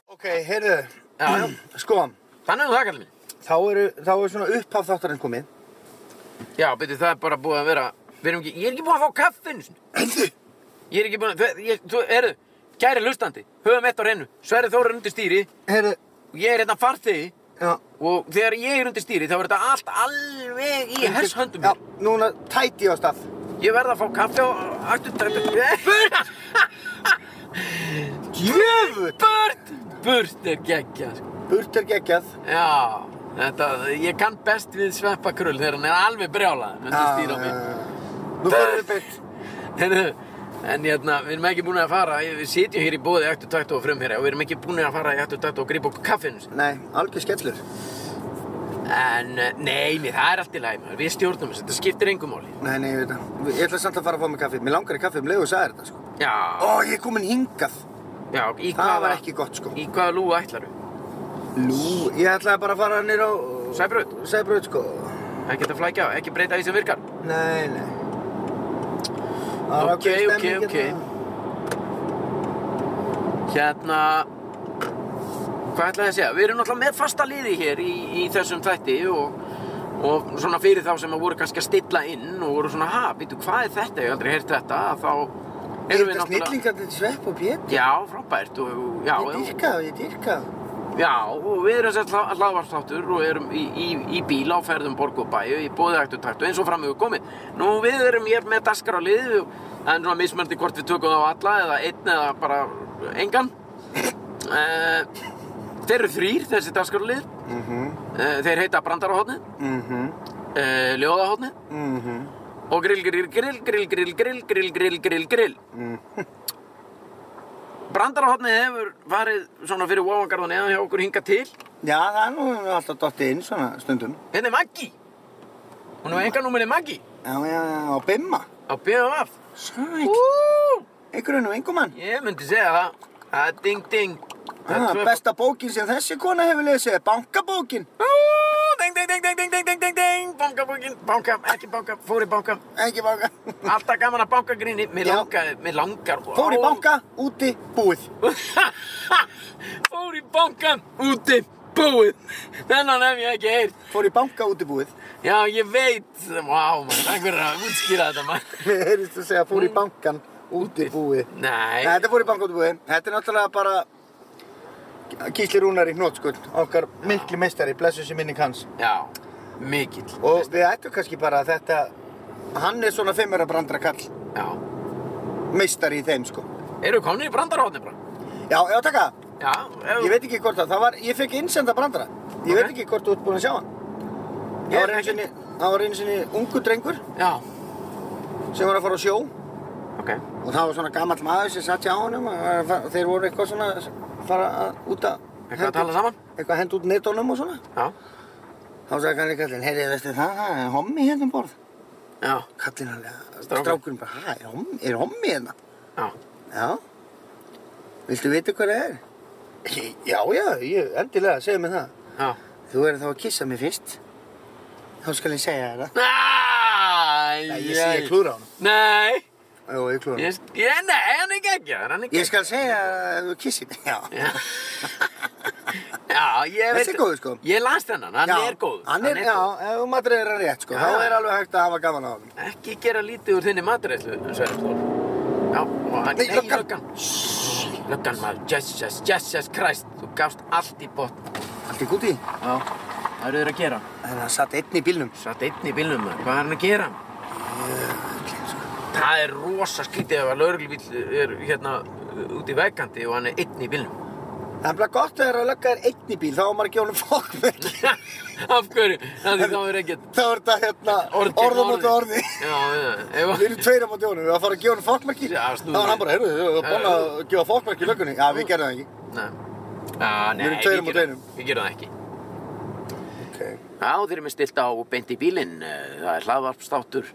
A: Ok, heyrðu,
B: Já, já.
A: sko,
B: Þannig um það, kallið mín.
A: þá eru, þá er svona upphaf þáttarinn komið.
B: Já, beti, það er bara búið að vera, við erum ekki, ég er ekki búin að fá kaffinu, sinni.
A: Heyrðu,
B: Ég er ekki búin að, þau- ég, þú, eru, kæri hlustandi, höfum eitt á reynu, Sverri Þór er undir stýri,
A: heyrðu,
B: og ég er hérna farþegi,
A: já.
B: og þegar ég er undir stýri, þá er þetta allt alveg í hershöndum.
A: Já,
B: mér.
A: núna tæti ég á stað.
B: Ég verð að fá kaffi á afturdættu.
A: Jöfull!
B: Burt! Burt er geggja, sko.
A: Burt er geggjað.
B: Já, þetta, ég kann best við sveppakrull þegar hann er alveg brjálað, myndi stýra mig.
A: Ah, eh, Nú fyrir við beitt.
B: Heyrðu, en hérna, við erum ekki búin að fara, við sitjum hér í bóði ættu tættu og frumherja og við erum ekki búin að fara í ættu tættu og grípa okkur kaffinu sinni.
A: Nei, algjör skellur.
B: En, eh, nei, nei, það er allt í lagi, maður, við stjórnum þessu, þetta skiptir engum máli.
A: Nei, nei, ég veit það. Ég ætla samt að fara að fá mig kaffi. Mér langar í kaffi um leið og sagði þetta, sko.
B: Já,
A: Ó, ég er komin hingað.
B: já, í hvaða...
A: Það var ekki gott, sko.
B: Í hvaða lúa ætlaru?
A: Nú, ég ætlaði bara að fara nýra á...
B: Sæbraut?
A: Sæbraut, sko.
B: Ekki þetta flækja, á, ekki breyta því sem virkar.
A: Nei, nei. Það var
B: Ok,
A: ákveðin
B: ok,
A: stemning
B: ok.
A: hérna.
B: Hérna, hvað ætlaði ég að segja? Við erum náttúrulega með fasta liði hér í, í þessum þætti og, og svona fyrir þá sem að voru kannski að stilla inn og voru svona, ha, býtu, hvað er þetta? Ég hef aldrei heyrt þetta, að þá erum við
A: Hitta
B: náttúrulega...
A: snillingarnir Svepp og Pétur.
B: Já, frábært og, og- já,
A: Ég dyrka það, ég dyrka það.
B: já, og við erum sér hlaðvarsláttur og erum í, í, í bíl á ferðum borg og bæju, í bóðiæktutæktu eins og fram hefur komið. Nú, við erum hér með daskar á liði, það er svona mismöndi hvort við tökum þá alla eða einn eða bara engan. Uh, þeir eru þrýr, þessi dagskarlið.
A: Mhm,
B: Uh, þeir heita Brandarahotnið,
A: mhm,
B: uh, Ljóðahotnið
A: mhm,
B: og grill, grill, grill, grill, grill, grill, grill, grill, grill, grill.
A: mhm.
B: Brandarahotnið hefur farið svona fyrir ofangarðan eða hjá okkur hingað til.
A: Já, það er nú alltaf dottið inn svona stundum.
B: Hérna er Maggi. Hún er enganúmerið Maggi
A: Já, já, já, á Bimma.
B: á BMF.
A: Sæk.
B: Ú,
A: Einhverjum og einhver mann.
B: Ég myndi segja það. Það er ah, ding, ding. Það er
A: Ah,
B: tvöfald.
A: besta bókin sem þessi kona hefur lesið er bankabókin.
B: Ú, Ding, ding, ding, ding, ding, ding, ding, ding, ding. Banka, bankin, banka, ekki banka, fór í banka.
A: Ekki banka.
B: Alltaf gaman að banka gríni. Mér
A: Já.
B: langar, mér langar.
A: Fór í
B: Ó.
A: banka, úti, búið.
B: Fór í bankan, úti, búið Þennan hef ég ekki heyrt
A: Fór í banka, úti, búið.
B: Já, ég veit Vá, maður, takk fyrir að útskýra þetta, maður
A: Mér heyrðist að segja fór í bankan, úti, búið.
B: Mm. Nei,
A: Nei, þetta fór í banka, úti, búið. Þetta er náttúrulega bara Gísli Rúnar í hnótskull. Okkar mikli meistari, blessu sem minni kanns.
B: já, mikill
A: Og við ættum kannski bara að þetta, hann er svona fimmara brandra kall,
B: Já,
A: meistari í þeim sko.
B: eru komin í brandarhóðni bara
A: Já, já taka,
B: Já, ef,
A: ég veit ekki hvort það, það var, ég fekk innsenda brandra. Ég
B: Ok.
A: veit ekki hvort þú ert búinn að sjá hann.
B: Ég
A: Það var
B: er
A: einu
B: ekki-
A: sinni, það var einu sinni ungu drengur
B: Já,
A: sem var að fara á sjó og
B: ok
A: það var svona gamall maður sem satt hjá honum og var að fara- þeir voru eitthvað svona að fara að, út að
B: Eitthvað að tala saman
A: eitthvað að henda út netónum og svona.
B: Já,
A: Þá sagði kannski kallinn, heyrðu, veistu það, það er hommi hérna um borð.
B: já,
A: Kallinn alveg,
B: Strákur.
A: strákurinn bara, hæ, er hommi, er hommi hérna?
B: já
A: Já. Viltu vita hvað það er? Já, já, ég, endilega, segðu mér það.
B: Já
A: Þú verður þá að kissa mér fyrst. Þá skal ég segja þér það.
B: Æ,
A: Nei, ég sé ég klúra hann.
B: Nei,
A: Jú, ég klúra hann.
B: ég, ég, nei, hann er geggja, hann
A: Ég
B: er geggja
A: skal segja þér að þú kissir mig. Já.
B: Já, já ég veit
A: Þessi er góður, sko.
B: Ég las þennan, hann
A: já,
B: er góð
A: Hann er, já, ef þú matur er hann rétt, sko.
B: Já,
A: Þá
B: já.
A: er alveg hægt að hafa gaman á hann.
B: Ekki gera lítið úr þinni matreislu, Sverrir Þór. Já, og hann...
A: Nei, löggan.
B: Shhh, löggan maður, Jesus, Jesus Christ, þú gafst allt í botn.
A: Allt í gúti.
B: Já, hvað eru þeir að gera?
A: En hann satt einn í bílnum.
B: Satt einn í bílnum maður, hvað er hann að gera?
A: Jökullinn, sko.
B: Það er rosa skrítið ef að lauruglubíl er hérna uh, út í vegkanti og hann er einn í bílnum.
A: Það er bara gott þegar að lögga er einn í bíl, þá á maður ekki honum fokkverk.
B: Af hverju? Það er þá er ekkert...
A: Þá er þetta, hérna,
B: orð gegn
A: orðum átta
B: orði.
A: orði.
B: Já, já, ef
A: Við erum tveir á móti honum, við varum að fara að gefa hann fólkmerki.
B: Já,
A: Það
B: snúðu
A: var hann bara, heyrðu, við varum búin að
B: Já,
A: gefa fólkmerki í löggunni. Já, við gerðum það ekki.
B: Nei. Ah, nei,
A: Við erum tveir á
B: við
A: móti
B: gerum-
A: einum.
B: Við gerum það ekki.
A: Okay.
B: Já, þeir eru með stilt á beint í bílinn. eh, Það er hlaðvarpstáttur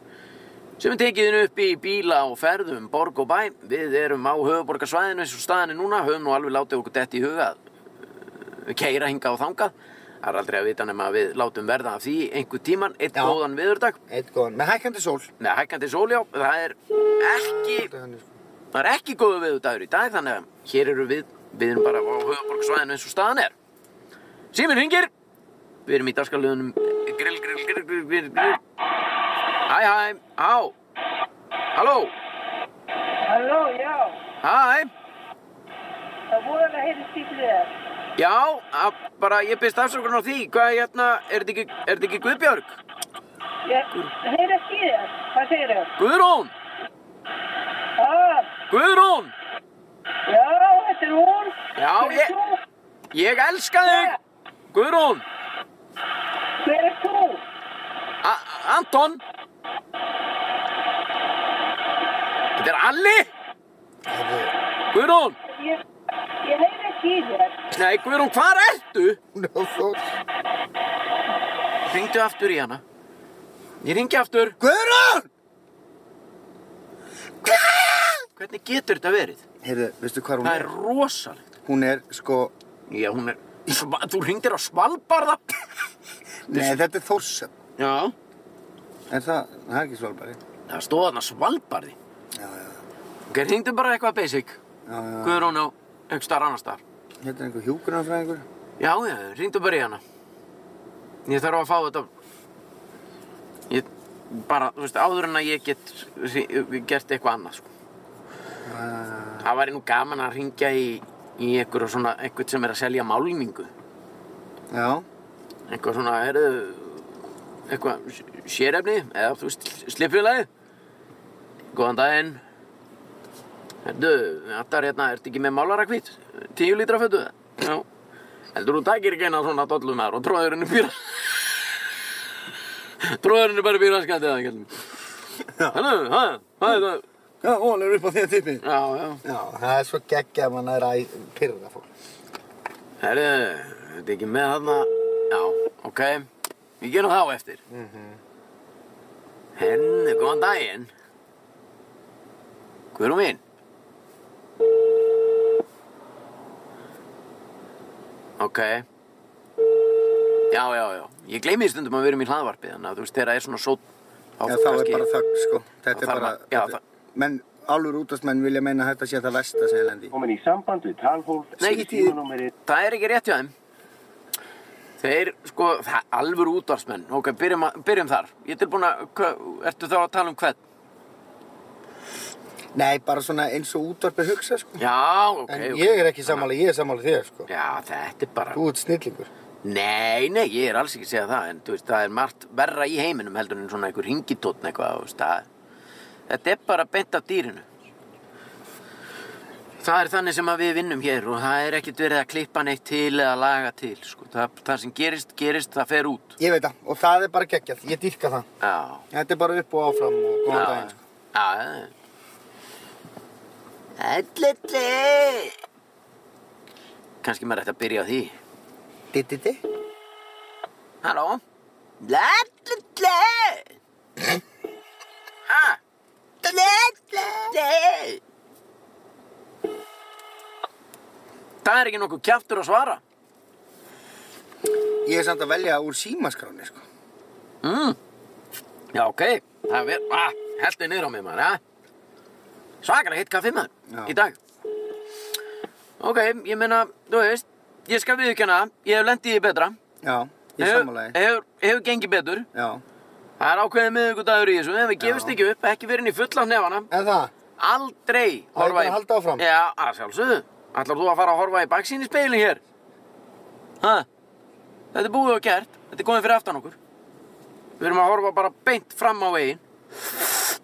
B: sem er tekiðin upp í bíla og ferðum, borg og bæ. Við erum á höfuborgarsvæðinu eins eh, og staðinu núna. Höfum nú alveg látið okkur dett í huga að keira hinga og þangað. Það er aldrei að vita nema að við látum verða af því einhver tíman, einn
A: Já.
B: góðan viðurdag
A: Eitt góðan, með hækandi sól.
B: með hækkandi sóljá, það er ekki
A: Þetta er þannig, sko.
B: það er ekki góðu viðurdagur í dag þannig að hér eru við, við erum bara á höfuborgsvæðinu eins og staðan er Síminn hringir við erum í dagskarliðunum grill, grill, grill, grill, grill, grill Hæ, hæ, há Halló,
C: Halló, já,
B: hæ
C: það voru alveg heyrðu stífið þér.
B: Já, að, bara ég byrst afsökun á því hvað er hérna, er þetta ekki, er þetta ekki Guðbjörg?
C: Ég heyrðu ekki í þér, hvað segir þér?
B: Guðrún,
C: Ah,
B: Guðrún
C: já, þetta er hún.
B: Já,
C: Hver er
B: ég-
C: þú?
B: Ég elska þig Guðrún,
C: Hver er þú?
B: A Anton Þetta er Alli
A: Herðu,
B: Guðrún,
C: Ég, ég heyrðu ekki í þér.
B: nei Guðrún, hvar ertu?
A: hún er á þór.
B: Ringdu aftur í hana Ég ringi aftur
A: Guðrún!
B: Hvernig getur þetta verið?
A: Heyrðu, veistu hvað hún
B: Það er
A: er?
B: rosalegt
A: Hún er, sko,
B: Já, hún er Sva- Þú ringdir á Svalbarða
A: nei, þetta er þórsöp.
B: Já
A: En það, það er ekki svolbæri.
B: Það stóð þarna Svalbarði
A: Já, já,
B: Ok, ringdu bara eitthvað basic
A: já, já.
B: Guðrún á einhver starf annar starf
A: Þetta er einhver hjúkunarfræðingur.
B: Já, já, ringdu bara í hana Ég þarf að fá þetta Ég bara, þú veist, áður en að ég get hri- gert eitthvað annað, sko
A: Uh,
B: Það væri nú gaman að ringja í, í einhver svona, einhvern sem er að selja málningu
A: já,
B: Eitthvað svona, heyrðu, eitthvað s- sérefni eða, þú veist, slipfélagi Góðan daginn Heyrðu, þetta er hérna, ertu ekki með málarakvít? Tíu lítra fötu? Já Heldur þú takir ekki eina svona dollu maður og tróður henni býra Tróður henni bara býra skattið það, kallum Hello, hæ, hæ, hæ,
A: já, hún er upp á því að tippi.
B: já, já
A: Já, það er svo geggja að mann er að pyrra fólk.
B: Herru, þetta er ekki með þarna Já, ok Við gerum það á eftir mm
A: Mhm.
B: Herru, góðan daginn Guðrún mín Ok Já, já, já Ég gleymi því stundum að við erum í hlaðvarpi Þannig að þú veist, þegar það er svona sót
A: Já, þá er bara þögg, sko. Þetta er
B: þarf
A: bara,
B: að- já,
A: þetta- menn, alvur útastmenn vilja meina að þetta sé það versta sem ég lendi. í.
D: komin í samband við talhólf
B: Nei,
D: í
B: ekki tíð.
D: tímanúmerið
B: Það er ekki rétt hjá þeim Þeir, sko, það, alvöru útvarsmenn Ok, byrjum, að, byrjum þar Ég er tilbúin að, hva- ertu þá að tala um hvern?
A: Nei, bara svona eins og útvarpið hugsa, sko.
B: Já, ok,
A: En
B: ok.
A: ég er ekki sammála, ég er sammála þér, sko.
B: Já, þetta er bara
A: Þú ert snillingur.
B: Nei, nei, ég er alls ekki að segja það En þú veist, það er margt verra í heiminum heldur en svona einhver ringitótn eitthvað þú veist, það, Þetta er bara beint af dýrinu Það er þannig sem að við vinnum hér og það er ekkert verið að klippa neitt til eða laga til sko. það, það sem gerist, gerist, það fer út
A: Ég veit það, og það er bara geggjað, ég dýrka það.
B: Já,
A: Þetta er bara upp og áfram og góðan
B: Já,
A: daginn, sko.
B: Já, já. Ellilli! Kanski maður ætti að byrja á því.
A: Dittiti?
B: Halló? Ellilli! Ha? Ellilli! Það er ekki nokkuð kjaftur að svara.
A: Ég er samt að velja úr símaskráni, sko.
B: Mm. Já, ok. Það er, ah, heldur niður á mig maður, ha? Svakar að hitt kaffi maður,
A: Já.
B: í dag. Ok, ég meina, þú veist, ég skal viðkjanna, ég hef lendið í því betra.
A: Já, ég er sammálaði.
B: Hefur, hefur gengið betur.
A: Já.
B: Það er ákveðið miðugudagur í þessu, en við
A: Já.
B: gefumst ekki upp, ekki verið inn í fulla nefana.
A: En það?
B: Aldrei
A: Það er bara að halda áfram.
B: Já, að sjálfsögðu. Ætlar þú að fara að horfa í baksýn í speilin hér? Ha? Þetta er búið og gert. Þetta er komið fyrir aftan okkur. Við erum að horfa bara beint fram á veginn.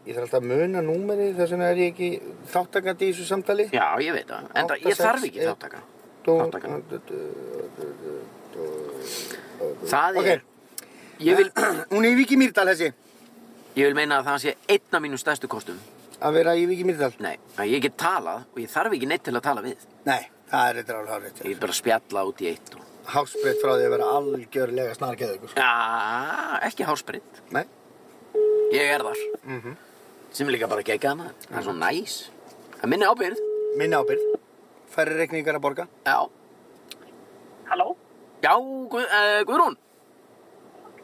A: Ég þarf alltaf að muna númerið þess vegna er ég ekki þáttakandi í þessu samtali.
B: Já, ég veit það. En
A: Átta,
B: það, ég
A: sex,
B: þarf ekki
A: einn.
B: þáttaka. þátttaka. Það
A: Ok.
B: er... Ég vil,
A: Hún er í Viki Mýrdal þessi.
B: ég vil meina að það sé einn af mínum stærstu kostum.
A: Að vera í Viki Mýrdal.
B: Nei, að ég get talað og ég þarf ekki neitt til að tala við.
A: Nei, það er eitthvað alveg hárið
B: Ég vil bara spjalla út í eitt og...
A: Hásbreytt frá því að vera algjörlega snarkeðu ykkur. sko.
B: Já, ekki hásbreytt.
A: Nei.
B: Ég er þar.
A: Mhm.
B: Sem er líka bara gegga hana. Það er svo næs. Það minni ábyrð.
A: Minna ábyrð. Færri reikningar að borga.
B: Já.
C: Halló?
B: Já, Já, Guð, uh, Guðrún,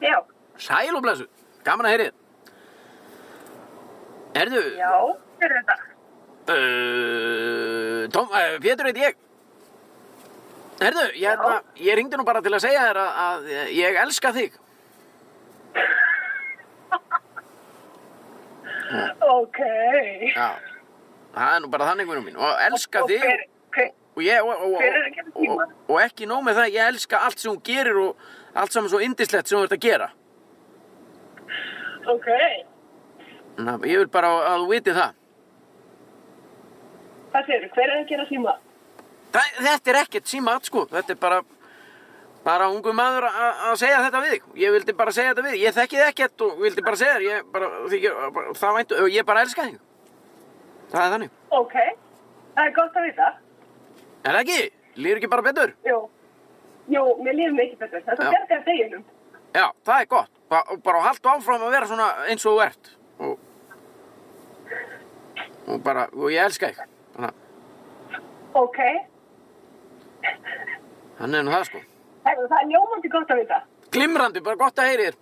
C: Já,
B: sæl og blessu, gaman að heyrið. Erðu,
C: já, hver er þetta?
B: uh, Tom, uh, Pétur heit ég. Erðu, ég, hérna, ég ringdi nú bara til að segja þér að, að ég elska þig.
C: Ok.
B: Já. Það er nú bara þannig vinnum mín og elska
C: Og
B: þig
C: hver- hver-
B: og ég og, og,
C: Hver er að gera
B: og, og,
C: tímann?
B: og ekki nóg með það, ég elska allt sem hún gerir og allt saman svo indislegt sem hún ert að gera.
C: Ok.
B: Na, ég vil bara að þú viti það.
C: Hvað segir Hver er að gera síma?
B: Þa, þetta er ekkert símat sko, þetta er bara bara ungu maður að að segja þetta við þig. Ég vildi bara segja þetta við þig, ég þekki þið ekkert og vildi bara segja þér, ég bara, þykir, bara það væntu, og ég bara elska þig. Það er þannig.
C: Ok. Það er gott að vita.
B: Er það ekki? Lýr ekki bara betur?
C: Jú. Jú, mér líður mikið betur. Þetta
B: Já.
C: gerði að deginum.
B: Já, það er gott. Ba og bara haldu áfram að vera svona eins og þú ert. Og, og bara, og ég elska þig. Þannig, að-
C: Ok.
B: þannig er nú það sko.
C: Heru, það er ljómandi gott að vita.
B: Glimrandi, bara gott að heyri þér.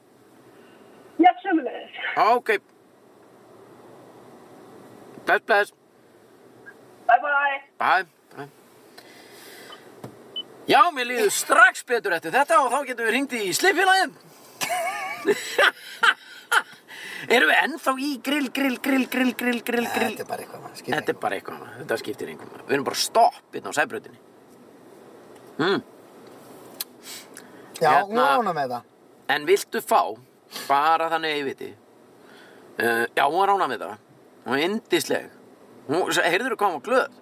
C: Já, sömulegis.
B: Ok. Bless, bless.
C: Bye bye.
B: Bæ, bæ. Já, mér líður strax betur eftir þetta og þá getum við ringt í slipfélagið. Erum við ennþá í grill, grill, grill, grill, grill, grill, grill.
A: Þetta er bara eitthvað, maður,
B: Þetta
A: skilur.
B: er bara eitthvað, maður. þetta skiptir engum. Við erum bara stopp hérna á sæbröðinni. Mm.
A: Já,
B: hérna-
A: hún var ánum með það.
B: En viltu fá, bara þannig að ég viti, uh, já, hún var ánað með það. Hún er yndisleg. Hún, heyrður þú hvað hún var glöð?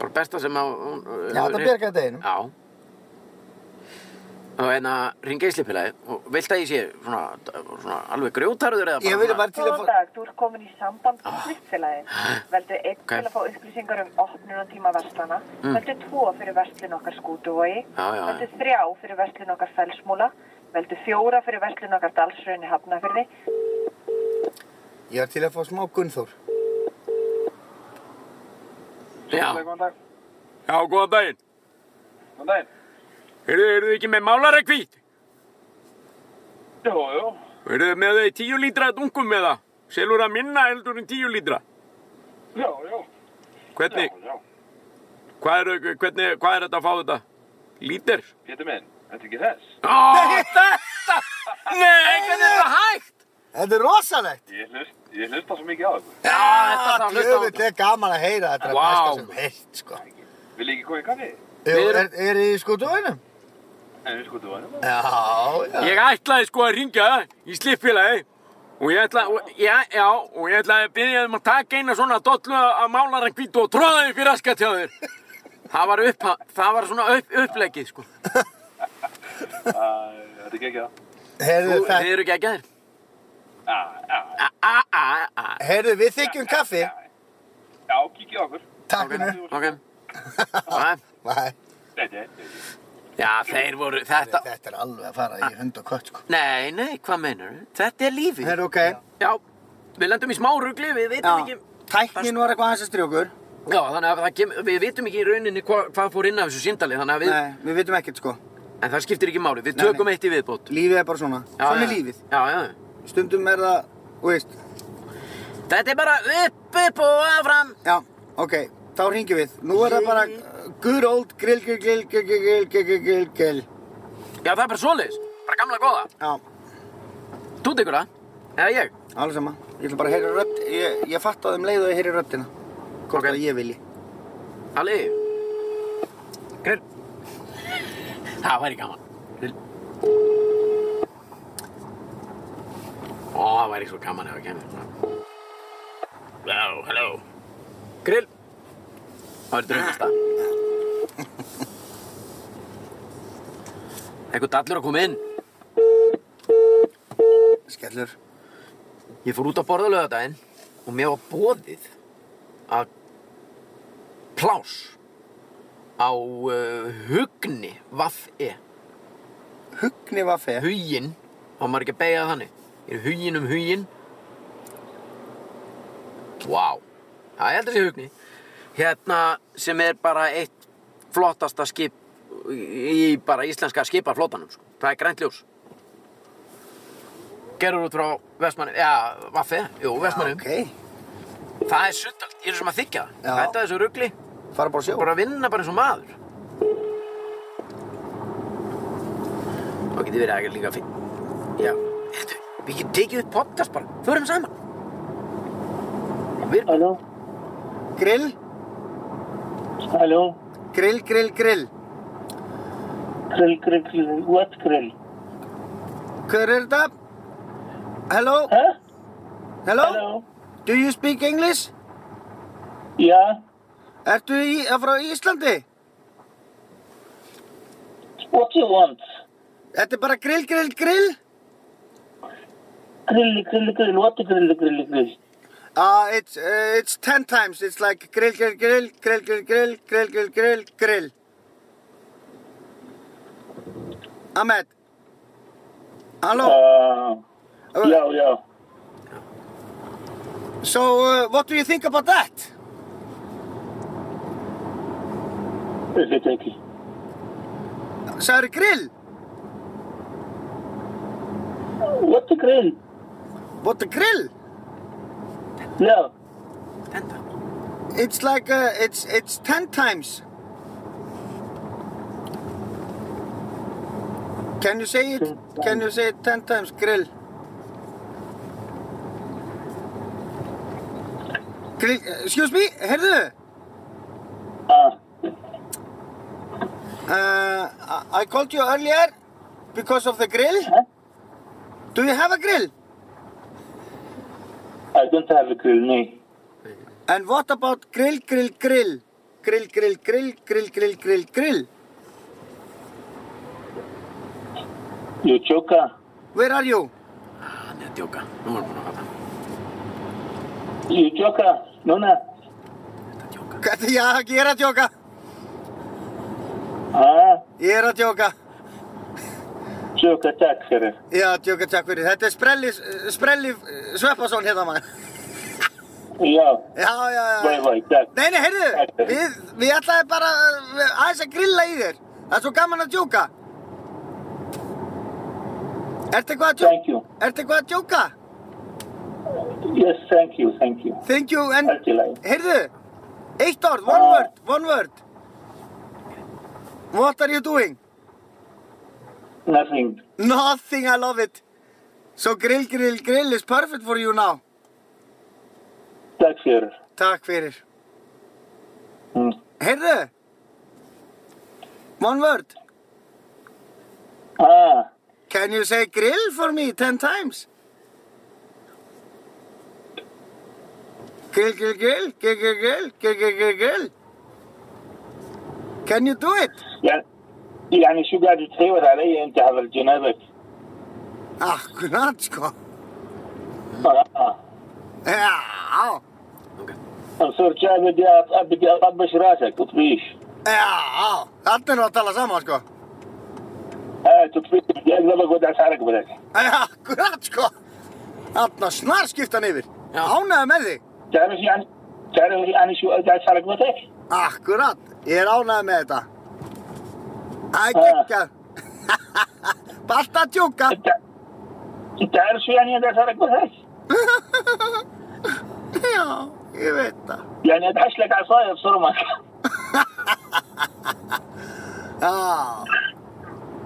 B: Bara besta sem að... Hún,
A: Já, þetta bjargaði deginum.
B: Já. Og en að ringa í slipilagi og vilt að ég sé svona, svona alveg grjótarður eða
A: Ég vilja bara til að
D: Góðan
A: fá... Ah.
D: dag, þú ert komin í samband við Slippfélagi. Veldu einn
B: Ok.
D: til að fá upplýsingar um opnunartíma verslana.
B: Mm.
D: Veldu tvo fyrir verslun okkar skútuvogi.
B: Já, já, já.
D: Veldu
A: Ah.
D: þrjá fyrir verslun okkar felsmúla. Veldu fjóra fyrir verslun okkar dalsraunni hafnafyrði.
A: Ég var til að fá smá Gunnþór.
B: Já,
E: Góðan dag.
B: já, góðan daginn.
E: Góðan daginn.
B: Heyrðu, heyrðu ekki með málarekvít?
E: Jú, jú.
B: Verðu með þau tíu lítra dungum með það? Selur það minna heldur en tíu lítra?
E: Já, já.
B: Hvernig,
E: Já, já.
B: hvað er, hvernig, hvað er þetta að fá þetta? Lítir?
E: Pétur minn, þetta er ekki þess.
B: Ó, þetta! Nei, hvernig er þetta hægt?
A: Þetta er rosalegt.
E: Ég hlust, ég hlusta svo mikið á þetta.
B: Já, þetta er það
A: Jöfull,
B: hlusta á þetta.
A: er gaman að heyra þetta er
B: Vá.
A: að besta sem heitt, sko.
E: Vil ég ekki koma í kaffi?
A: Jú,
B: Við
A: er,
B: erum-
A: er í skútuðunum?
E: En við skoðum að hérna.
A: Já, já.
B: Ég ætlaði sko að ringja í slippfélagi og ég ætlaði, og, já, já, og ég ætlaði að byrja um að taka eina svona dollu að mála hann hvítu og tróða upp í raskat hjá þér. Það var, upp, það var svona upp, upplegið, sko.
E: Þetta er ekki ekki það.
A: Heyrðu,
B: Þú,
A: það,
B: þið eru ekki að gæðir.
E: Já, já.
B: A, a, a, a.
A: heyrðu, við þykjum
B: um
A: kaffi.
E: Já, kíkja á okkur.
A: Takk fyrir.
B: Ok. Bye.
A: Bæ.
E: Þetta er.
B: Já, þeir voru, þetta...
A: Þetta er alveg að fara í hund og kött, sko.
B: Nei, nei, hvað meinar Þetta er lífið.
A: Heyrðu, ok.
B: Já, við lendum í smá rugli, við vitum
A: Já,
B: ekki...
A: tæknin var eitthvað aðeins að strjókur.
B: Já, þannig að það kem, við vitum ekki í rauninni hva, hvað fór inn af þessu síndali, þannig að við...
A: Nei, við vitum ekkert, sko.
B: En það skiptir ekki máli, við
A: Nei,
B: tökum
A: nei.
B: eitt í viðbót.
A: Lífið er bara svona.
B: Já,
A: Svona er
B: já.
A: lífið.
B: Já, já.
A: Stundum er það, þú veist,
B: Þetta er bara upp, upp og áfram.
A: já, ok, þá ringjum við. Nú er það bara uh, good old grill, grill, grill, grill, grill, grill, grill, grill, grill.
B: Já, það er bara svoleiðis. Bara gamla góða.
A: Já,
B: Þú tekur það? Eða ég?
A: alveg sama. Ég ætla bara að heyra rödd, ég, ég fatt á þeim leið og ég heyri röddina. Hvort
B: Ok.
A: að ég vilji.
B: Ali. Grill. það væri gaman. Grill. Ó, það væri svo gaman ef það kemur. Vá, halló. Grill. Það væri draumast það. Eitthvað dallur að koma inn.
A: Skellur.
B: Ég fór út að borða lögadaginn og mér var boðið að plás á uh, hugni vaff-e.
A: Hugni vaffi.
B: Huginn, þá maður ekki að beigja þannig. Ég er huginn um huginn. Vá, það er heldur þessi hugni. Hérna sem er bara eitt flottasta skip í bara íslenska skipaflótanum sko. það er grænt ljós gerur út frá Vestmanni, já, Vaffi, jú, Vestmanni
A: Ok,
B: það er suttalt, ég er sem að þykja
A: Já.
B: það þetta þessu rugli,
A: fara bara að sjó.
B: bara að vinna bara eins og maður þá getur verið að líka finn já, þetta, við getum tekið upp podcast bara, förum saman við,
F: Halló,
A: Grill,
F: halló,
A: grill, grill, grill.
F: grill, grill, grill, what grill?
A: Hver er þetta? Hello,
F: Huh?
A: hello,
F: Halló,
A: do you speak English?
F: yeah,
A: Ertu í, frá Íslandi?
F: what you want?
A: Þetta er bara grill, grill, grill.
F: Grill, grill, grill, what grill, grill, grill?
A: Uh, it's, uh, it's ten times. It's like grill, grill, grill, grill, grill, grill, grill, grill, grill, grill. Ahmed. Hello.
F: Uh,
A: Uh,
F: yeah, yeah.
A: So, uh, what do you think about that?
F: Okay, thank you.
A: Sorry, grill.
F: What grill?
A: What the grill?
F: Yeah,
B: þetta
A: It's like, uh, it's, it's ten times. Can you say it? Can you say it ten times? Grill. Grill, excuse me, heyrðu?
F: uh,
A: Uh, I I called you earlier because of the grill.
F: Huh?
A: Do you have a grill?
F: I don't have a grill, no.
A: And what about grill, grill, grill? Grill, grill, grill, grill, grill, grill, grill.
F: You choker?
A: Where are you?
B: hann er að djóka, nú erum við búin að fatta
F: You choker? No, no.
B: þetta er djóka
A: Hvað- Já, ég er að djóka.
F: Ah,
A: Ég er að djóka.
F: choker tax, sir.
A: Já, djóka, takk fyrir. Þetta er Sprelli, Sprelli eh, Sveppason hérna maður.
F: Yeah,
A: Já, já, já.
F: bye bye, tax.
A: Nei, nei, heyrðu, við, við ætlaði bara eh, aðeins að grilla í þér. Það er svo gaman að djóka. Ertu eitthvað að djóka?
F: Thank you.
A: Ertu eitthvað að djóka?
F: Yes, thank you, thank you.
A: Thank you and...
F: Until I.
A: Heyrðu, eitt orð, one
F: Ah.
A: word, one word. What are you doing?
F: Nothing.
A: Nothing, I love it. So grill, grill, grill is perfect for you now.
F: Tax, sir.
A: Takk fyrir.
F: Mm.
A: Heyrðu, one word.
F: Ah,
A: Can you say grill for me ten times? Grill, grill, grill, grill, grill, grill, grill, grill, grill, grill. Can you do it?
F: يعني يعني شو قاعد تتهيوت علي انت هذا الجنابك؟
A: Akkurat, sko.
F: آه، آه.
A: Já,
F: منصور شاي بدي أط- بدي اطبش راسك تطبيش
A: já, þarna erum við að tala saman, sko.
F: اه تطبيش بدي اقلبك وادعس على ركبتك
A: Já, akkurat, sko. Þarna snar skiptan yfir.
B: Já.
A: Ánægði með þig.
F: تعرف يعني تعرف يعني شو ادعس على ركبتك؟
A: Akkurat, ég er ánægði með þetta. Æ, geggjað. Bara alltaf að djúka.
F: انت انت عارف شو يعني ادعس على ركبتك؟
A: Já, ég veit það.
F: يعني ادعس لك عصايه بصرمك
A: Já,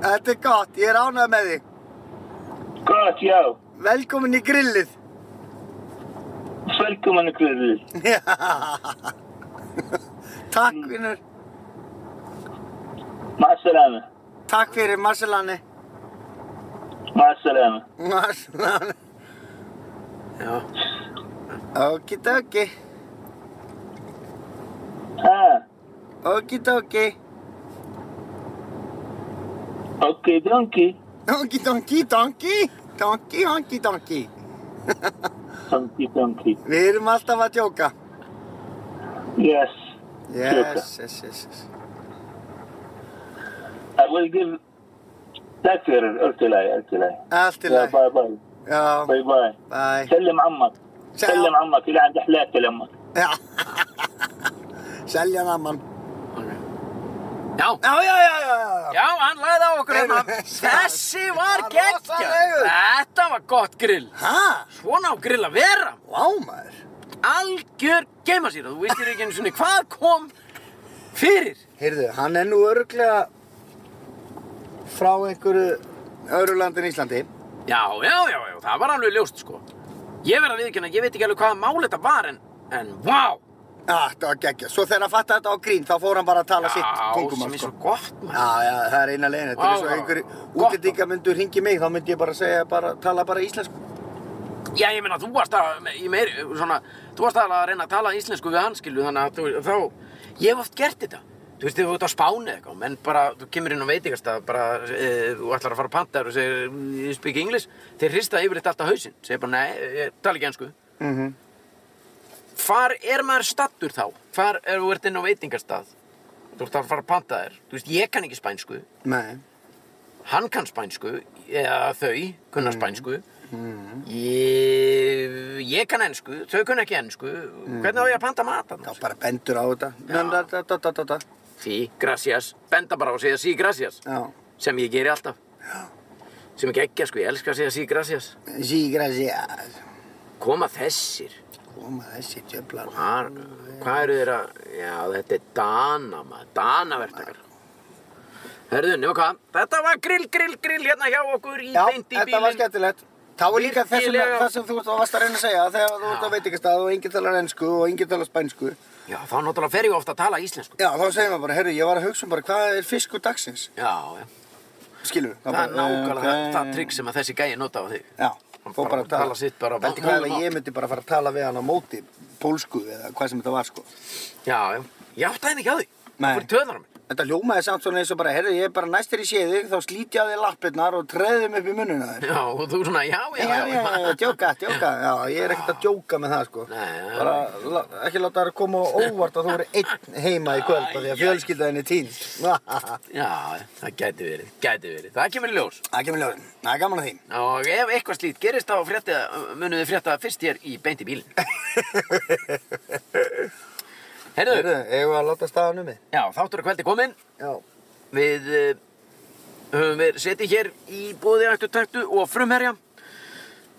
A: þetta er gott, ég er ánægð með þig.
F: كوت ياو
A: Velkomin í grillið.
F: فلكم من كريدل
A: Já. Takk, vinnur.
F: مع السلامه
A: Takk fyrir, Marcelani.
F: مع السلامه
A: Marcelani.
B: já
A: Okidoki,
F: اه
A: okidoki,
F: اوكي دونكي
A: okidoki, donki, donki, honki, donki.
F: دونكي دونكي
A: Við erum alltaf að djóka.
F: يس
A: Yes, yes, yes, yes.
F: I will give تكفر قلت لي قلت لي
A: Allt í
F: يا
A: lagi.
F: باي باي
A: Já,
F: باي باي
A: bye.
F: سلم عمك
A: سلام.
F: سلم عمك الى عند حلاك لامك
A: Já. Selja naman.
B: Ok. Já,
A: Já, já, já, já, já.
B: já, hann lagði á okkur hérna. Þessi var geggjað. Þetta var gott grill.
A: Hæ?
B: Svona á grill að vera.
A: Vá, maður.
B: Algjör geima sér. Þú veistir ekki einu svona hvað kom fyrir.
A: Heyrðu, hann er nú örglega frá einhverju öðru landi en Íslandi.
B: Já, já, já, já, það var alveg ljóst sko. Ég verð að viðkynna, ég veit ekki alveg hvaða mál þetta var en, en, vá.
A: Já, þetta var geggja. Svo þegar hann fattaði þetta á grín, þá fór hann bara að tala sitt
B: sem
A: tungumál,
B: er
A: sko.
B: svo gott maður.
A: Já, já, það er eina leiðin. Þetta
B: Vá,
A: er svo
B: vá,
A: einhverju
B: vá.
A: útlendinga myndu ringi mig, þá myndi ég bara segja, bara, tala bara íslensku.
B: Já, ég meina, þú varst að, í meiri, svona, þú varst að reyna að tala íslensku við hann, skilju, þannig að þú, þá, ég hef oft gert þetta. Þú veist, ef þú ert á Spáni eða eitthvað, menn bara, þú kemur inn á veitingastað, bara, e, þú ætlar að fara að panta þér og segir, "Mm, ég speak English, þeir hrista yfirleitt alltaf hausinn, segir bara, nei, ég tala ekki ennsku.
A: Mhm.
B: Hvar er maður stattur þá? Hvar er þú ert inn á veitingastað? Þú ert að fara að panta þér, þú veist, ég kann ekki spænsku,
A: Nei.
B: hann kann spænsku, eða þau kunna spænsku,
A: Mhm.
B: ég, ég kann ennsku, þau kunna ekki ennsku, hvernig á ég að panta mat
A: Þá
B: þarna?
A: bara bendur á þetta. Da, da, da, da, da, da.
B: Sí, gracias, benda bara og segja sí, gracias,
A: Já.
B: sem ég geri alltaf. Sem ekki ekki, sko, ég elska að segja sí, gracias.
A: Sí, gracias.
B: Koma þessir,
A: Koma þessi tjöflar.
B: Hvar, hvað eru þeir að, já, þetta er Dana, maður, Danavertakar. Herðu, nema hvað, þetta var grill, grill, grill hérna hjá okkur í
A: Já,
B: beint í bílinn.
A: þetta var skemmtilegt. Þá er líka það sem,
B: Virkilega.
A: það sem þú varst að reyna að segja þegar þú ert
B: Já.
A: á veitingastað og enginn talar ennsku og enginn talar spænsku.
B: Já, þá náttúrulega fer ég ofta að tala íslensku.
A: Já, þá segir maður bara, herru, ég var að hugsa um bara hvað er fiskur dagsins,
B: Já, já.
A: skilur við?
B: Það er nákvæmlega það, það trikk sem að þessi gæi nota á þig.
A: Já,
B: Hann
A: fó
B: bara
A: bara að tala.
B: tala sitt bara á
A: Pældi
B: bara
A: hvað
B: góðum
A: ef
B: hátt.
A: ég myndi bara fara að tala við hann á móti pólsku eða hvað sem þetta var, sko.
B: Já, já. Ég áttaði mig ekki á því.
A: Nei.
B: Það fyrir töðanar minn.
A: Þetta ljómaði samt svona eins og bara, herru, ég er bara næstir í séði, þá slíti ég á því lappirnar og treðum upp í munnuna þér.
B: Já, og þú svona, já,
A: Já,
B: já,
A: já, já, já, djóka, djóka, já, ég er ekkert að djóka með það, sko.
B: Nei, já.
A: Bara, la- ekki láta það að koma á óvart að þú eru einn heima í kvöld af því að fjölskyldaðin er týnd. Það
B: Já, það gæti verið, gæti verið. Það kemur í ljós.
A: kemur ljóðin, það er gaman að því.
B: Og ef eitthvað slíkt gerist þá fréttið, munum þið frétta fyrst hér í beint í bílinn. Heyrðu,
A: Heyrðu, eigum við að láta staðan um mig?
B: já, þáttur að kveldi kominn.
A: Já.
B: Við uh, höfum við setið hér í bóði ættu taktu og frumherja.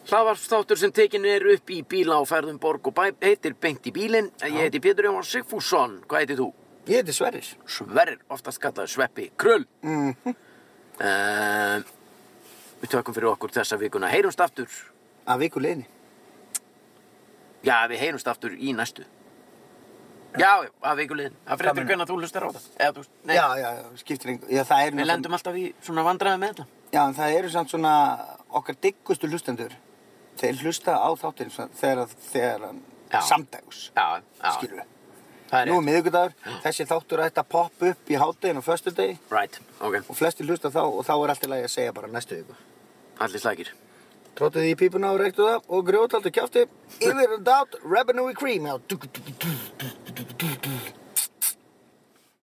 B: Hlaðvarpsþáttur sem tekin er upp í bíla og ferðum borg og bæ heitir Bengt í bílinn. Ég heiti Pétur Jóhann Sigfússon. Hvað heitir þú?
A: Ég heiti Sverris.
B: Sverrir, oftast kallaður Sveppi Krull. Mm við tökum fyrir okkur þessa vikuna. Heyrumst aftur.
A: Að viku leiðinni.
B: Já, við heyrumst aftur í næstu. Já, já, að vikulegin. Það fyrir eftir
A: meinar?
B: hvernig þú hlustar á það. Eða, þú, veist, nei,
A: Já, já, já, skiptir einhver. Já, það er
B: við lendum alltaf í svona vandræði með þetta.
A: Já, en það eru samt svona okkar diggustu hlustendur. Þeir hlusta á þáttinn svona þegar, þegar
B: Já.
A: samdags,
B: Já, já.
A: skilur við.
B: Það er
A: Nú er
B: rétt.
A: miðvikudagur, þessi þáttur ætti að poppa upp í háttegin og föstudegi
B: Right, ok.
A: og flestir hlusta þá og þá er allt í lagi að segja bara næstu viku.
B: Allir slækir.
A: Tróttu því í pípuna og reyktu það og grjótaldu kjátti yfir and out, revenue cream. Já, dú, dú, dú, dú, dú, dú, dú, dú.